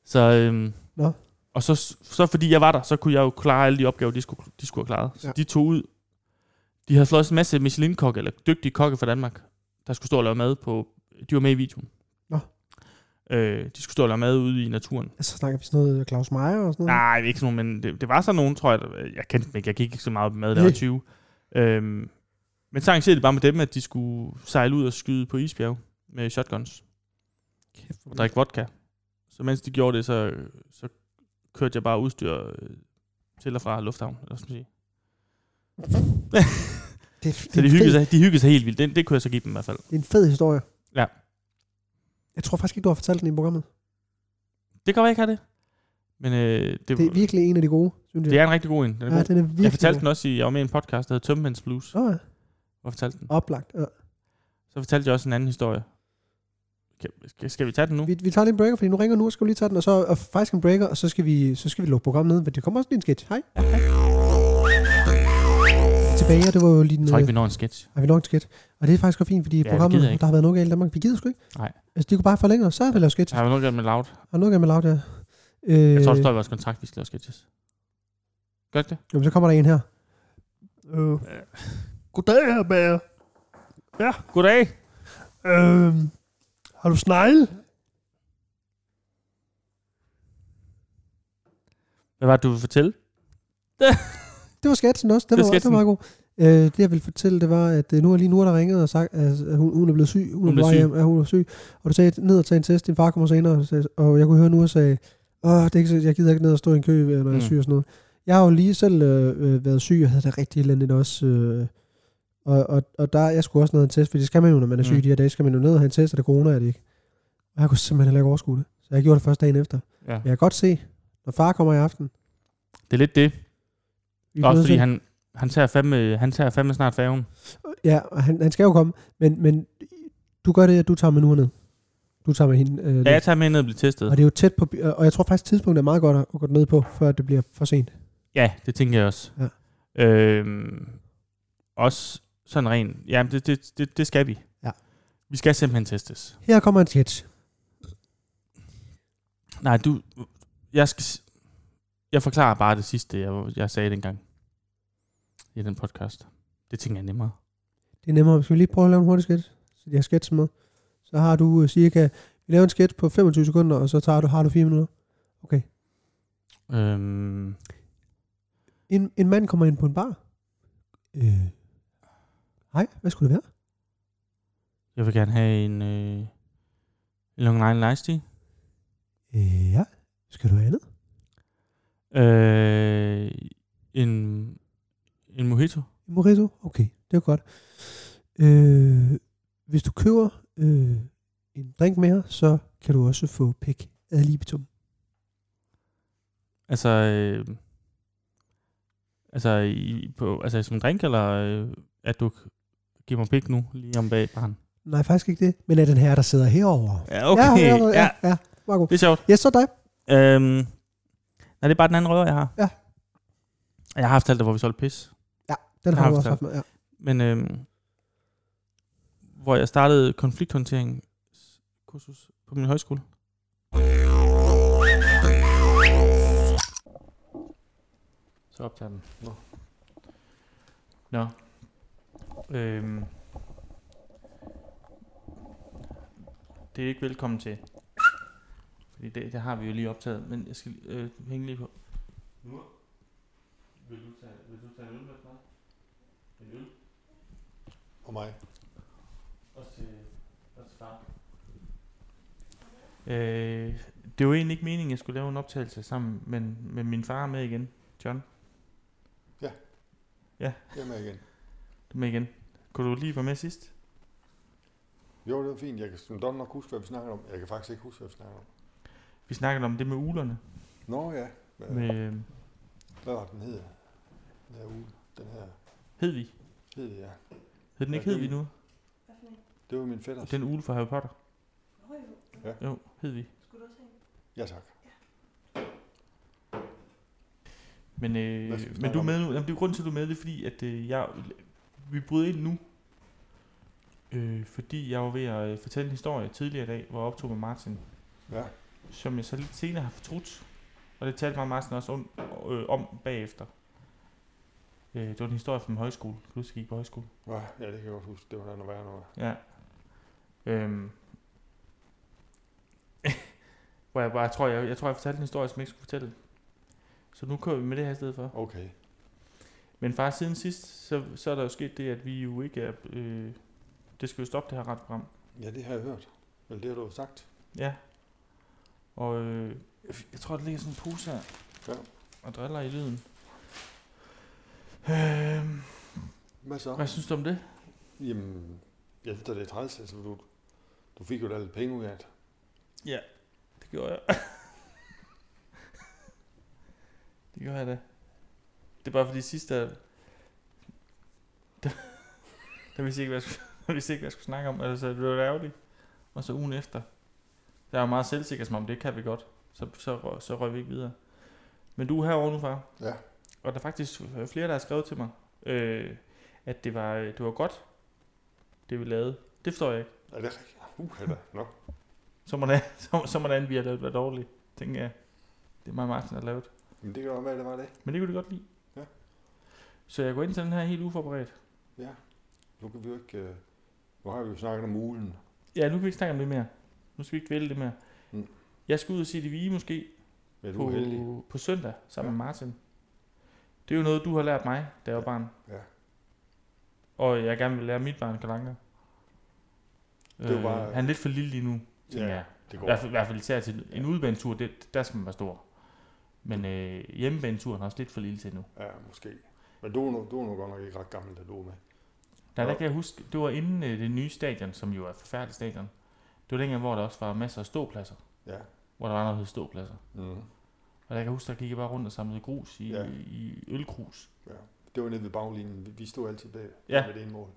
Speaker 1: Så, øhm,
Speaker 2: Nå.
Speaker 1: Og så, så fordi jeg var der, så kunne jeg jo klare alle de opgaver, de skulle, de skulle have klaret. Så
Speaker 2: Ja.
Speaker 1: ja. de tog ud. De havde fløjet en masse Michelin-kokke, eller dygtige kokke fra Danmark, der skulle stå og lave mad på... De var med i videoen.
Speaker 2: Nå.
Speaker 1: Øh, de skulle stå og lave mad ude i naturen.
Speaker 2: Altså, snakker vi sådan noget Claus Meier og sådan noget?
Speaker 1: Nej, ikke sådan nogen, men det, det var sådan nogen, tror jeg. Der, jeg kendte dem ikke, jeg gik ikke så meget op i mad, der
Speaker 2: Nej.
Speaker 1: var 20. Øhm, men så arrangerede de bare med dem, at de skulle sejle ud og skyde på isbjerg med shotguns
Speaker 2: Kæft, hvor
Speaker 1: og drikke vodka. Så mens de gjorde det, så, så kørte jeg bare udstyr øh, til og fra lufthavn. Eller sådan sige. <laughs>
Speaker 2: det, er,
Speaker 1: Så
Speaker 2: det,
Speaker 1: de
Speaker 2: er en
Speaker 1: hyggede,
Speaker 2: fed,
Speaker 1: sig, de hyggede sig helt vildt. Det, det kunne jeg så give dem i hvert fald.
Speaker 2: det er en fed historie.
Speaker 1: Ja.
Speaker 2: Jeg tror faktisk ikke, du har fortalt den i programmet.
Speaker 1: Det kan være, jeg ikke have det. Men øh, det,
Speaker 2: Det er
Speaker 1: det,
Speaker 2: virkelig en af de gode, synes jeg.
Speaker 1: det, er en rigtig god en. Den er
Speaker 2: ja,
Speaker 1: god.
Speaker 2: den er virkelig
Speaker 1: jeg fortalte
Speaker 2: god.
Speaker 1: den også i, jeg var med i en podcast, der hedder Tømmermænds Blues.
Speaker 2: Åh, ja.
Speaker 1: Hvor jeg fortalte den.
Speaker 2: Oplagt. Ja.
Speaker 1: Så fortalte jeg også en anden historie. Kan, skal, skal vi tage den nu?
Speaker 2: Vi, vi tager lige en breaker, fordi nu ringer nu, og skal vi lige tage den, og så og faktisk en breaker, og så skal vi, så skal vi lukke programmet ned, men det kommer også lige en sketch. Hej. Tilbage, og det var jo lige den...
Speaker 1: Jeg tror ikke, vi når en sketch.
Speaker 2: Har vi nok en sketch? Og det er faktisk godt fint, fordi
Speaker 1: vi
Speaker 2: ja, programmet,
Speaker 1: gider ikke.
Speaker 2: der har været noget galt i Danmark, vi gider sgu ikke.
Speaker 1: Nej.
Speaker 2: Altså, de kunne bare forlænge os, så havde vi lavet sketch.
Speaker 1: Jeg har nok gjort med loud.
Speaker 2: Og noget galt med Laud, ja. Øh,
Speaker 1: Jeg tror, det står i vores kontrakt, vi skal lave sketches. Gør det?
Speaker 2: jo, men så kommer der en her. Øh,
Speaker 4: Goddag, herr Bager.
Speaker 1: Goddag.
Speaker 4: Øhm, har du snegle?
Speaker 1: Hvad var det, du ville fortælle?
Speaker 2: det var sketchen også, det,
Speaker 1: Det
Speaker 2: det
Speaker 1: er
Speaker 2: var,
Speaker 1: sketchen.
Speaker 2: det var meget god. Øh, det jeg ville fortælle, det var, at øh, nu er lige nu, der ringede og sagt, at at hun, hun er blevet syg. Hun, hun er
Speaker 1: blev
Speaker 2: blevet
Speaker 1: syg.
Speaker 2: Hjem, ja, hun er syg. Og du sagde, ned og tage en test, din far kommer senere, og sagde- og jeg kunne høre nu og sagde, Åh, det er ikke, så- jeg gider ikke ned og stå i en kø, når jeg er
Speaker 1: Mm.
Speaker 2: syg og sådan noget. Jeg har jo lige selv øh, øh, været syg, og havde det rigtig elendigt også. Øh, og, og, og der, jeg skulle også ned og have en test, for det skal man jo, når man er syg mm.
Speaker 1: Mm.
Speaker 2: de her dage, skal man jo ned og have en test, og det corona er det ikke. Og jeg kunne simpelthen heller ikke overskue det. Så jeg gjorde det først dagen efter.
Speaker 1: Ja.
Speaker 2: Men jeg kan godt se, når far kommer i aften.
Speaker 1: Det er lidt det.
Speaker 2: vi er
Speaker 1: Også
Speaker 2: nødt
Speaker 1: fordi
Speaker 2: til-
Speaker 1: han, han, tager fandme, han tager fandme snart færgen.
Speaker 2: Ja, og han, han skal jo komme, men, men du gør det, at du tager med nu ned. Du tager med hende. Øh,
Speaker 1: Ja,
Speaker 2: ned.
Speaker 1: jeg tager med ned og bliver testet.
Speaker 2: og det er jo tæt på, by- og jeg tror faktisk, tidspunktet er meget godt at at gå ned på, før det bliver for sent.
Speaker 1: Ja, det tænker jeg også.
Speaker 2: Ja.
Speaker 1: Øhm, også sådan ren. Ja, det, det, det, det skal vi.
Speaker 2: Ja.
Speaker 1: Vi skal simpelthen testes.
Speaker 2: Her kommer en sketch.
Speaker 1: Nej, du... Jeg skal... s- Jeg forklarer bare det sidste, jeg, jeg sagde dengang. I den podcast. Det tænker jeg er nemmere.
Speaker 2: Det er nemmere. Skal vi lige prøve at lave en hurtig sketch? Så de har sketchen med. Så har du øh, cirka, vi laver en sketch på 25 sekunder, og så tager du, har du 4 minutter.
Speaker 1: Øhm,
Speaker 2: En, en mand kommer ind på en bar. Øh. Hej, hvad skulle det være?
Speaker 1: jeg vil gerne have en... Øh, en Long Island Iced Tea.
Speaker 2: Øh, ja. Skal du have andet?
Speaker 1: Øh, en... En mojito.
Speaker 2: En Mojito? Okay, det er godt. Øh, hvis du køber øh, en drink mere, så kan du også få pæk ad libitum.
Speaker 1: Altså, øh, altså, i, på, altså som drink, eller øh, at du giver mig pik nu, lige om bag barn?
Speaker 2: Nej, faktisk ikke det, men er den her, der sidder herovre.
Speaker 1: Ja, okay.
Speaker 2: Ja,
Speaker 1: Ja,
Speaker 2: ja, ja. ja, ja. Meget god.
Speaker 1: Det er sjovt.
Speaker 2: Ja, så dig.
Speaker 1: Øhm, nej, det er bare den anden røver, jeg har.
Speaker 2: Ja.
Speaker 1: Jeg har haft alt det, hvor vi solgte pis.
Speaker 2: Den har
Speaker 1: Har
Speaker 2: du
Speaker 1: du
Speaker 2: også
Speaker 1: fortalt.
Speaker 2: haft med. Ja.
Speaker 1: Men øhm, hvor jeg startede konflikthåndtering kursus på min højskole. Så optager den. Nå. Nå. Øhm. Det er ikke velkommen til. Fordi det, det har vi jo lige optaget, men jeg skal øh, hænge lige på. Nu. Vil du tage, vil du tage en øl med fra? En øl?
Speaker 5: Og mig.
Speaker 1: Også til, også til far. Øh, det var egentlig ikke meningen, at jeg skulle lave en optagelse sammen, men, men min far er med igen. John,
Speaker 5: Jeg er med igen.
Speaker 1: du er med igen. Kunne du lige være med sidst?
Speaker 5: Jo, det var fint. Jeg kan som godt nok huske, hvad vi snakker om. Jeg kan faktisk ikke huske, hvad vi snakker om.
Speaker 1: Vi snakkede om det med ulerne.
Speaker 5: Nå ja. Hvad,
Speaker 1: Med, øh,
Speaker 5: hvad var den hed? Den her uge. Den her
Speaker 1: Hedvig.
Speaker 5: hed, ja.
Speaker 1: Hed den
Speaker 5: Ja,
Speaker 1: ikke Hedvig
Speaker 5: det-
Speaker 1: nu?
Speaker 5: Det var min fætter.
Speaker 1: Den ule fra Harry Potter.
Speaker 5: Ja.
Speaker 1: Jo, Hedvig.
Speaker 5: Ja, tak.
Speaker 1: Men, øh,
Speaker 5: Hvad skal vi
Speaker 1: men
Speaker 5: snakke
Speaker 1: du er
Speaker 5: om?
Speaker 1: med nu. Jamen, det er grunden til, at du er med, det er fordi, at øh, jeg, vi bryder ind nu. Øh, fordi jeg var ved at øh, fortælle en historie tidligere i dag, hvor jeg optog med Martin.
Speaker 5: Ja.
Speaker 1: som jeg så lidt senere har fortrudt. Og det talte mig Martin også om, øh, om bagefter. Øh, det var en historie fra min højskole. Kan du huske, jeg gik på højskole?
Speaker 5: Nå, Ja, det kan jeg godt huske. Det var da noget værre noget.
Speaker 1: Ja. Øhm. <laughs> Hvor jeg bare jeg tror, jeg, jeg tror, jeg fortalte en historie, som jeg ikke skulle fortælle. Så nu kører vi med det her i stedet for.
Speaker 5: Okay.
Speaker 1: Men far, siden sidst, så, så er der jo sket det, at vi jo ikke er... Øh, det skal jo stoppe det her retsprogram.
Speaker 5: Ja, det har jeg hørt. Eller det har du jo sagt.
Speaker 1: Ja. Og øh, jeg f- jeg tror, der ligger sådan en pose her.
Speaker 5: Ja.
Speaker 1: Og driller i lyden. Øhm,
Speaker 5: Hvad så?
Speaker 1: hvad synes du om det?
Speaker 5: Jamen, jeg synes da, det er træls. Altså, du, du fik jo da lidt penge ud af det.
Speaker 1: Det gjorde jeg. <laughs> det gjorde jeg da. Det er bare fordi sidst, <laughs> der... Der, der vidste jeg ikke, hvad jeg skulle, <laughs> der vidste jeg ikke, hvad jeg skulle snakke om. Altså, det blev ærgerligt. Og så ugen efter. Der er jo meget selvsikker, som om det kan vi godt. Så, så, røg- så røg vi ikke videre. Men du er herovre nu, far.
Speaker 5: Ja.
Speaker 1: Og der er faktisk flere, der har skrevet til mig, øh, at det var, øh, det var godt, det vi lavede. Det forstår jeg ikke.
Speaker 5: Er det rigtigt? Uh, da. Nå.
Speaker 1: Så man, er, <laughs> så, så man an, vi har lavet, var dårligt, tænker jeg. Det er mig og Martin, der har lavet.
Speaker 5: Men det kan godt være, det var det.
Speaker 1: Men det kunne de godt lide.
Speaker 5: Ja.
Speaker 1: Så jeg går ind til den her helt uforberedt.
Speaker 5: Nu kan vi jo ikke... øh, Nu har vi jo snakket om ulen.
Speaker 1: Ja, nu kan vi ikke snakke om det mere. Nu skal vi ikke vælge det mere.
Speaker 5: Mm.
Speaker 1: Jeg skal ud og sige det vige måske
Speaker 5: Ja, du er heldig.
Speaker 1: på, på søndag sammen
Speaker 5: Ja.
Speaker 1: med Martin. Det er jo noget, du har lært mig, da jeg var barn.
Speaker 5: Ja.
Speaker 1: Og jeg gerne vil lære mit barn kalanker.
Speaker 5: Det er jo
Speaker 1: Øh,
Speaker 5: bare-
Speaker 1: Han er lidt for lille lige nu, tænker jeg.
Speaker 5: det
Speaker 1: I
Speaker 5: går.
Speaker 1: hvert fald, i hvert fald især til en udebanetur, det, der skal man være stor. Men øh, hjemmebaneturen er også lidt for lille til nu.
Speaker 5: Ja, måske. Men du er, nu, du er nu godt nok ikke ret gammel, da du er med.
Speaker 1: Der, der
Speaker 5: Ja.
Speaker 1: kan jeg huske, det var inden øh, det nye stadion, som jo er et forfærdeligt stadion. Det var dengang, hvor der også var masser af ståpladser.
Speaker 5: Ja.
Speaker 1: Hvor der var noget, der hed ståpladser.
Speaker 5: Mm.
Speaker 1: Og der kan jeg huske, der gik jeg bare rundt og samlede grus i,
Speaker 5: Ja.
Speaker 1: ja. i ølkrus.
Speaker 5: Det var nede ved baglinjen. Vi- Vi stod altid bag
Speaker 1: Ja.
Speaker 5: ja. med det ene mål.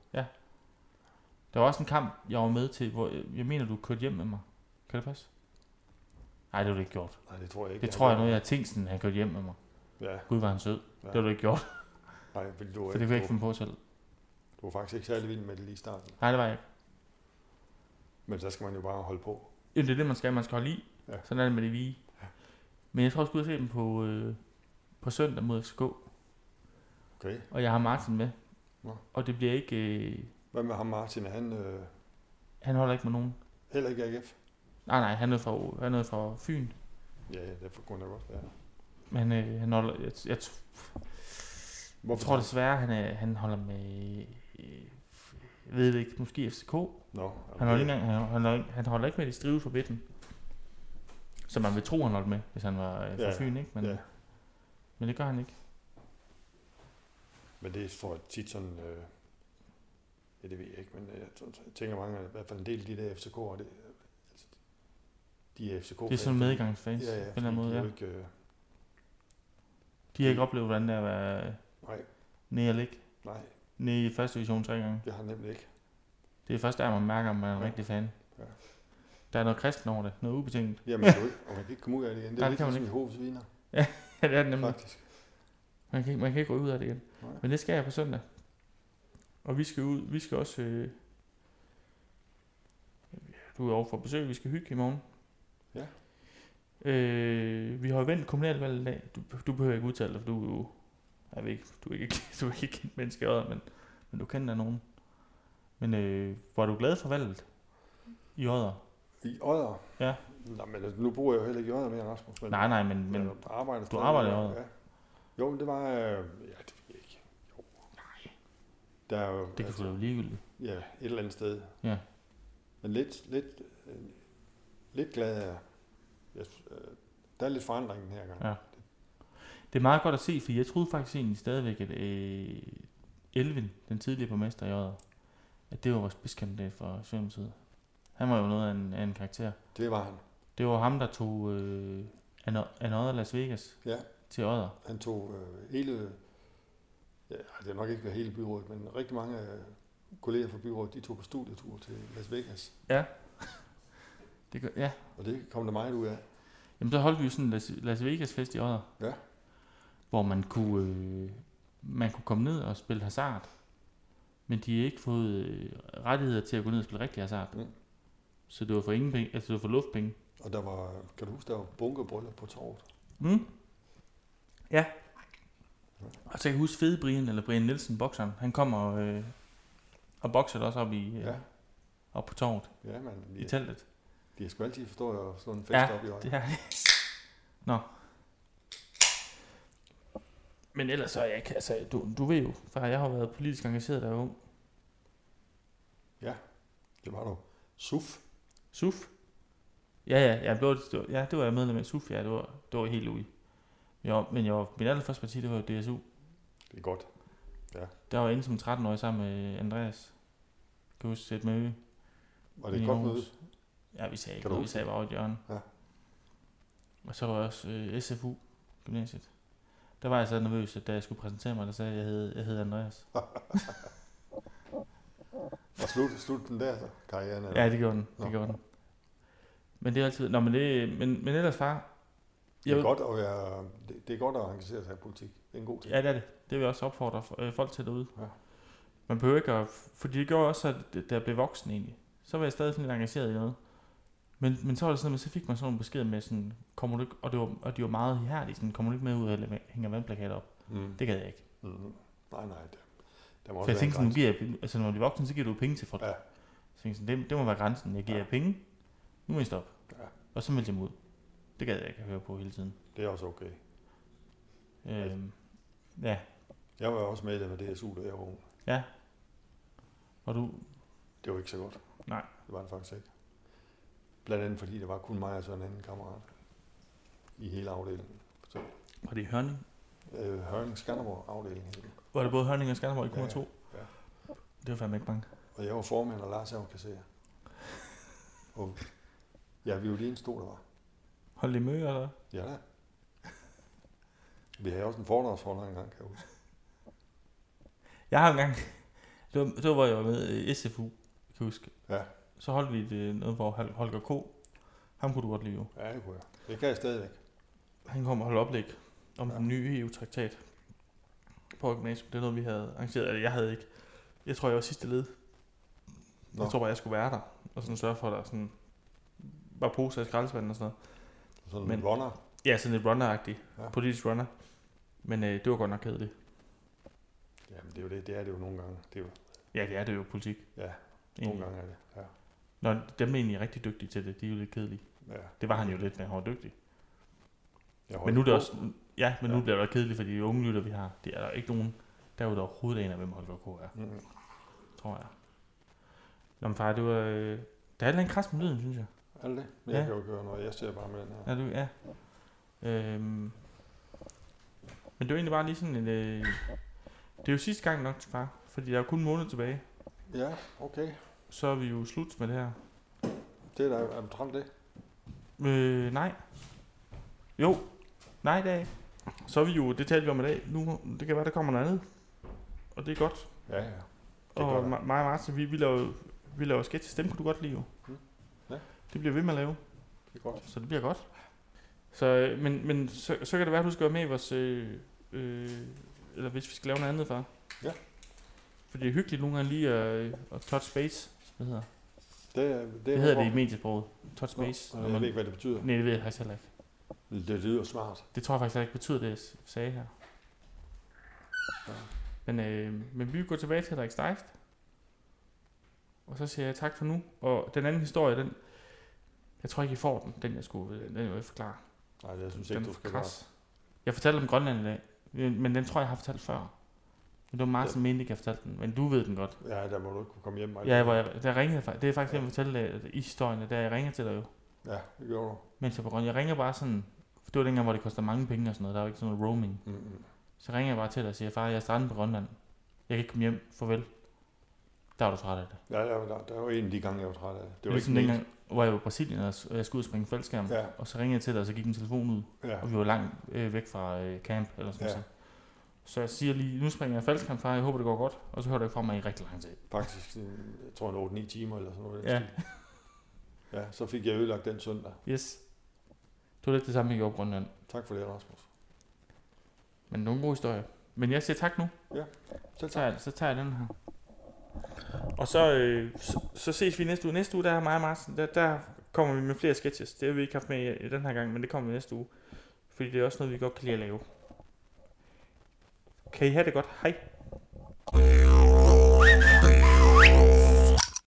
Speaker 1: Der var også en kamp, jeg var med til, hvor øh, jeg mener, du kørte hjem med mig. Kan det passe? Nej, det var det ikke gjort.
Speaker 5: Nej, det tror jeg ikke.
Speaker 1: Det tror jeg noget, jeg tænkte sådan, han kørte hjem med mig.
Speaker 5: Ja,
Speaker 1: Gud, var han sød.
Speaker 5: Ja.
Speaker 1: Det var det ikke gjort,
Speaker 5: nej, fordi du, var
Speaker 1: for det kunne
Speaker 5: ikke,
Speaker 1: jeg ikke
Speaker 5: du,
Speaker 1: finde på selv.
Speaker 5: du var faktisk ikke særlig vild med det lige i starten.
Speaker 1: Nej, det var jeg ikke.
Speaker 5: Men så skal man jo bare holde på.
Speaker 1: Jamen, det er det, man skal. Man skal holde i.
Speaker 5: Ja.
Speaker 1: Sådan er det med det vige. Men jeg tror, jeg skal ud og se dem på, øh, på søndag mod FCK.
Speaker 5: Okay.
Speaker 1: Og jeg har Martin med.
Speaker 5: Nå.
Speaker 1: Og det bliver ikke... Øh,
Speaker 5: Hvad med ham Martin? Er han øh,
Speaker 1: han holder ikke med nogen.
Speaker 5: heller ikke AGF?
Speaker 1: Nej, nej, han er fra, han er fra Fyn.
Speaker 5: Ja, ja, det kunne jeg godt være.
Speaker 1: Men øh, han holder... Jeg, jeg, jeg
Speaker 5: Hvorfor?
Speaker 1: tror desværre, han, er, han holder med... Øh, jeg ved det ikke, måske FCK.
Speaker 5: Nå,
Speaker 1: Han holder, ikke, engang- han, han, holder, ikke- han holder ikke med de strive for midten. Så man vil tro, han holdt med, hvis han var øh, fra
Speaker 5: Ja,
Speaker 1: Fyn, ikke? Men,
Speaker 5: ja.
Speaker 1: men det gør han ikke.
Speaker 5: Men det får tit sådan... Øh, ja, det ved jeg ikke, men jeg t- t- tænker mange, i hvert fald en del af de der FCK'er, det, de er FCK.
Speaker 1: Det er sådan medgangsfans
Speaker 5: Ja, ja.
Speaker 1: på en eller anden
Speaker 5: fordi
Speaker 1: måde. Ja.
Speaker 5: de er jo Ikke, øh,
Speaker 1: De har ikke oplevet, hvordan det er at være øh,
Speaker 5: nej,
Speaker 1: nede og ligge
Speaker 5: nej,
Speaker 1: nede i første division tre gange.
Speaker 5: det har jeg nemlig ikke.
Speaker 1: Det er først der, man mærker, om man er en
Speaker 5: Ja.
Speaker 1: rigtig fan.
Speaker 5: Ja.
Speaker 1: Der er noget kristen over det. Noget ubetinget.
Speaker 5: Ja,
Speaker 1: <laughs>
Speaker 5: man kan jo ikke, og man kan ikke komme ud af det igen. Det er
Speaker 1: Nej, det
Speaker 5: lidt
Speaker 1: kan man
Speaker 5: ligesom Jehovas vidner,
Speaker 1: Ja, det er det nemlig.
Speaker 5: faktisk.
Speaker 1: Man kan, ikke- man kan ikke gå ud af det igen.
Speaker 5: Nej.
Speaker 1: Men det skal jeg på søndag. Og vi skal ud. Vi skal også... Øh, du er over for besøg. Vi skal hygge i morgen.
Speaker 5: Ja.
Speaker 1: Øh, vi har jo vendt kommunalvalget i dag. Du, du behøver ikke udtale dig, for du er jo... Jeg ved ikke, du er ikke, <laughs> du er ikke kendt menneske i øjet, men, men du kender nogen. Men øh, var du glad for valget? I Odder?
Speaker 5: I Odder?
Speaker 1: Ja.
Speaker 5: Nå, men altså, nu bor jeg jo heller ikke i Odder mere, Rasmus. Men,
Speaker 1: Nej, nej, men, men
Speaker 5: men jeg arbejder
Speaker 1: du
Speaker 5: stadig
Speaker 1: arbejder i
Speaker 5: der,
Speaker 1: Odder.
Speaker 5: Ja. Jo, men det var... Øh, ja, det ved jeg ikke. Jo. Der er jo... altså,
Speaker 1: det kan du da ligegyldigt.
Speaker 5: Ja, et eller andet sted.
Speaker 1: Ja.
Speaker 5: Men lidt, lidt, øh, lidt glad er jeg. jeg. s- øh, Der er lidt forandring den her gang.
Speaker 1: Ja. Det er meget godt at se, for jeg troede faktisk egentlig stadigvæk, at øh, Elvin, den tidligere borgmester i Odder, at det var vores spidskandidat for Sjømsiden. Han var jo noget af en, af en karakter.
Speaker 5: Det var han.
Speaker 1: Det var ham, der tog øh, An- Another Las Vegas
Speaker 5: Ja.
Speaker 1: til Odder.
Speaker 5: Han tog øh, hele... Ja, det har nok ikke været hele byrådet, men rigtig mange øh, kolleger fra byrådet, de tog på studietur til Las Vegas.
Speaker 1: Det gør, ja.
Speaker 5: Og det kom der meget ud af.
Speaker 1: Jamen, så holdt vi jo sådan en Las, Las Vegas fest i Odder.
Speaker 5: Ja.
Speaker 1: Hvor man kunne, øh, man kunne komme ned og spille hasard. Men de har ikke fået øh, rettigheder til at gå ned og spille rigtig hasard.
Speaker 5: Mm.
Speaker 1: Så det var for ingen penge, altså det var for luftpenge.
Speaker 5: Og der var, kan du huske, der var bunkerbryllup på torvet?
Speaker 1: Mm. Ja. Og så kan jeg huske fede Brian, eller Brian Nielsen, bokseren. Han kommer og, øh, og bokser også op, i, øh, ja.
Speaker 5: Ja,
Speaker 1: op på torvet
Speaker 5: ja, man.
Speaker 1: ja. i
Speaker 5: De,
Speaker 1: teltet.
Speaker 5: de skal altid forstå at slå en fest
Speaker 1: Ja,
Speaker 5: op i øjnene.
Speaker 1: Det er Nå. Men ellers så er jeg ikke, altså, du, du ved jo, for jeg har jo været politisk engageret, da jeg var ung.
Speaker 5: Det var du. Suf.
Speaker 1: SUF? Ja, ja, jeg blev, det var, ja, det var jeg medlem af SUF, ja, det var, det var helt ude. Jo, men jeg var, min allerførste parti, det var jo DSU.
Speaker 5: Det er godt.
Speaker 1: Der var jeg inde som 13-årig sammen med Andreas. Kan du huske et møde?
Speaker 5: Var det
Speaker 1: i
Speaker 5: et godt møde?
Speaker 1: Aarhus. Ja, vi sagde ikke
Speaker 5: Kan du
Speaker 1: noget, vi
Speaker 5: huske
Speaker 1: sagde bare over i et hjørne.
Speaker 5: Ja.
Speaker 1: Og så var jeg også øh, SFU, gymnasiet. Der var jeg så nervøs, at da jeg skulle præsentere mig, der sagde jeg, at jeg hed, jeg hed Andreas.
Speaker 5: Og slut, slut den der, så, karrieren. eller?
Speaker 1: Ja, det gjorde den. Det
Speaker 5: Nå.
Speaker 1: gjorde den. Men det er altid... Nå, men, det, men, men ellers far...
Speaker 5: det, er godt at være, det, det er godt at engagere sig i politik. Det er en god ting.
Speaker 1: Ja, det er det. Det vil jeg også opfordre øh, folk til derude.
Speaker 5: Ja.
Speaker 1: Man behøver ikke at... Fordi det gjorde også, at da jeg blev voksen egentlig, så var jeg stadig sådan lidt engageret i noget. Men, men så var det sådan, at så fik man sådan nogle beskeder med sådan, kommer du ikke, og, det var, og de var meget ihærdige, sådan, kommer du ikke med ud og hænger vandplakater op?
Speaker 5: Mm.
Speaker 1: Det gad jeg ikke.
Speaker 5: Mm. Nej, nej. Der, der må
Speaker 1: For
Speaker 5: også
Speaker 1: jeg
Speaker 5: være en
Speaker 1: tænkte sådan, nu
Speaker 5: grænse.
Speaker 1: giver jeg, altså når man bliver voksen, så giver du jo penge til folk.
Speaker 5: Ja.
Speaker 1: Så tænkte jeg sådan, det, det må være grænsen. Jeg giver
Speaker 5: Ja.
Speaker 1: jer penge, nu må I stoppe.
Speaker 5: Ja.
Speaker 1: Og så meldte jeg mig ud. Det gad jeg ikke at høre på hele tiden.
Speaker 5: Det er også okay.
Speaker 1: Øhm, ja,
Speaker 5: Jeg var jo også medlem af DSU, da jeg var ung.
Speaker 1: og du,
Speaker 5: Det var ikke så godt.
Speaker 1: Nej.
Speaker 5: Det var det faktisk ikke. Blandt andet fordi, det var kun mig og så en anden kammerat i hele afdelingen.
Speaker 1: var det i Hørning?
Speaker 5: Øh, Hørning Skanderborg afdelingen. hed den.
Speaker 1: Var det både Hørning og Skanderborg i
Speaker 5: Ja, ja.
Speaker 1: Kummer 2?
Speaker 5: Ja.
Speaker 1: Det var fandme ikke mange.
Speaker 5: Og jeg var formand, og Lars jeg var kasserer. Og ja, vi var lige en stor, der var.
Speaker 1: Hold det møde, eller?
Speaker 5: Ja da. Vi havde også en foredragsholder engang, kan jeg huske.
Speaker 1: Jeg har engang, <laughs> det var, det var hvor jeg var med i SFU, kan jeg huske.
Speaker 5: Ja.
Speaker 1: Så holdt vi et, øh, noget, hvor Hol- Holger K. Ham kunne du godt lide jo.
Speaker 5: Ja, det kunne jeg. Det kan jeg stadigvæk.
Speaker 1: Han kom og holdt oplæg om ja.
Speaker 5: Ja.
Speaker 1: den nye EU-traktat på gymnasium. Det er noget, vi havde arrangeret. Eller jeg havde ikke. Jeg tror, jeg var sidste led. Nå.
Speaker 5: Nå.
Speaker 1: Jeg tror bare, jeg skulle være der. Og sådan sørge for, at der sådan var poser i skraldespanden og sådan noget.
Speaker 5: Sådan
Speaker 1: Men-
Speaker 5: en runner.
Speaker 1: Ja, sådan lidt runner-agtig. Ja.
Speaker 5: Ja.
Speaker 1: Politisk runner. Men øh, det var godt nok kedeligt.
Speaker 5: Jamen, det er jo det. Det er det jo nogle gange. Det er jo,
Speaker 1: Ja, det er det jo politik.
Speaker 5: ja,
Speaker 1: egentlig.
Speaker 5: nogle gange er det. Ja.
Speaker 1: Nå, dem er egentlig rigtig dygtige til det. De er jo lidt kedelige.
Speaker 5: ja.
Speaker 1: Det var han jo lidt, men han var dygtig.
Speaker 5: Jeg
Speaker 1: Men nu er det
Speaker 5: på.
Speaker 1: også... Ja, men ja. nu
Speaker 5: Ja.
Speaker 1: bliver det også kedeligt, fordi de unge lytter, vi har, det er der ikke nogen, der er jo der overhovedet aner, hvem Holger K. er,
Speaker 5: Mm.
Speaker 1: tror jeg. Nå, men far, det var... Øh, der er et eller andet kras med lyden, synes jeg.
Speaker 5: Er det det?
Speaker 1: Ja.
Speaker 5: Men ja. jeg kan jo ikke høre noget. Jeg ser bare med den her.
Speaker 1: Er du, ja. Øhm, men det var egentlig bare lige sådan en... Øh, det er jo sidste gang nok, far, fordi der er kun en måned tilbage.
Speaker 5: Ja, okay.
Speaker 1: Så er vi jo slut med det her.
Speaker 5: Det er da, er du træt af det?
Speaker 1: Øh, nej. Jo. Nej, det er ikke. Så er vi jo, det talte vi om i dag. Nu, det kan være, der kommer noget andet. Og det er godt.
Speaker 5: Ja, ja. Det er
Speaker 1: Og
Speaker 5: godt.
Speaker 1: Ma- mig og Martin, vi, vi laver, vi laver sketches. Dem kunne du godt lide jo.
Speaker 5: Mm. Ja.
Speaker 1: Det bliver vi ved med at lave,
Speaker 5: Det er godt.
Speaker 1: så det bliver godt. Så, øh, men, men så, så kan det være, at du skal være med i vores... Øh, øh, eller hvis vi skal lave noget andet, far.
Speaker 5: Ja.
Speaker 1: For det er hyggeligt nogle gange lige at, øh, at touch base, som det hedder.
Speaker 5: Det, er, det,
Speaker 1: Det hedder det i mediesproget. Touch base.
Speaker 5: Jeg ved ikke, hvad det betyder.
Speaker 1: Nej, det ved jeg faktisk heller ikke.
Speaker 5: Det lyder smart.
Speaker 1: Det tror jeg faktisk heller ikke betyder det, jeg s- sagde her. Så. Men, øh, men vi går tilbage til Henrik Steist. Og så siger jeg tak for nu. Og den anden historie, den... Jeg tror ikke, I får den, den jeg skulle øh, den jeg vil forklare.
Speaker 5: Nej, jeg synes ikke,
Speaker 1: Den
Speaker 5: du
Speaker 1: er
Speaker 5: skal
Speaker 1: for
Speaker 5: bare...
Speaker 1: kras. Jeg fortalte om Grønland i dag, men men den tror jeg, jeg har fortalt før. Men det var Martin ja. mente ikke, jeg fortalte den, men du ved den godt.
Speaker 5: Ja, der må du ikke kunne komme hjem. Michael.
Speaker 1: Ja, hvor jeg, der ringede jeg, fak- det er faktisk, ja. jeg fortalte øh, i historien, da jeg ringer til dig jo.
Speaker 5: Ja, det gjorde du.
Speaker 1: Mens jeg på Grønland, jeg ringer bare sådan, for det var dengang, hvor det koster mange penge og sådan noget, der var ikke sådan noget roaming.
Speaker 5: Mm-hmm.
Speaker 1: Så ringer jeg bare til dig og siger, far, jeg er strandet på Grønland. Jeg kan ikke komme hjem. Farvel. Der var du træt af det.
Speaker 5: Ja, der, der, der var en af de gange, jeg var træt af. det. Det var
Speaker 1: var
Speaker 5: ikke
Speaker 1: dengang, hvor jeg var i Brasilien, og s- og jeg skulle ud og springe fældskærm.
Speaker 5: Ja.
Speaker 1: Og så ringede jeg til dig, og så gik en telefon ud.
Speaker 5: Ja,
Speaker 1: Og vi var langt øh, væk fra øh, camp, eller sådan
Speaker 5: Ja.
Speaker 1: noget. Så jeg siger lige, nu springer jeg fældskærm, far, jeg håber, det går godt. Og så hører du ikke fra mig i rigtig lang tid.
Speaker 5: faktisk, sådan, jeg tror, en 8-9 timer eller sådan noget. i den
Speaker 1: Ja.
Speaker 5: stil. ja, så fik jeg ødelagt den søndag.
Speaker 1: Yes. Det var lidt det samme, jeg gjorde på Grønland.
Speaker 5: Tak for det, Rasmus.
Speaker 1: Men nogle gode historier. Men jeg siger tak nu.
Speaker 5: Selv
Speaker 1: Så
Speaker 5: tak.
Speaker 1: tager jeg, så tager jeg den her. Og så, øh, så, så ses vi næste uge. Næste uge, der er mig og Martin, der, der kommer vi med flere sketches. Det har vi ikke haft med i, i den her gang, men det kommer vi næste uge. Fordi det er også noget, vi godt kan lide at lave. Kan I have det godt? Hej.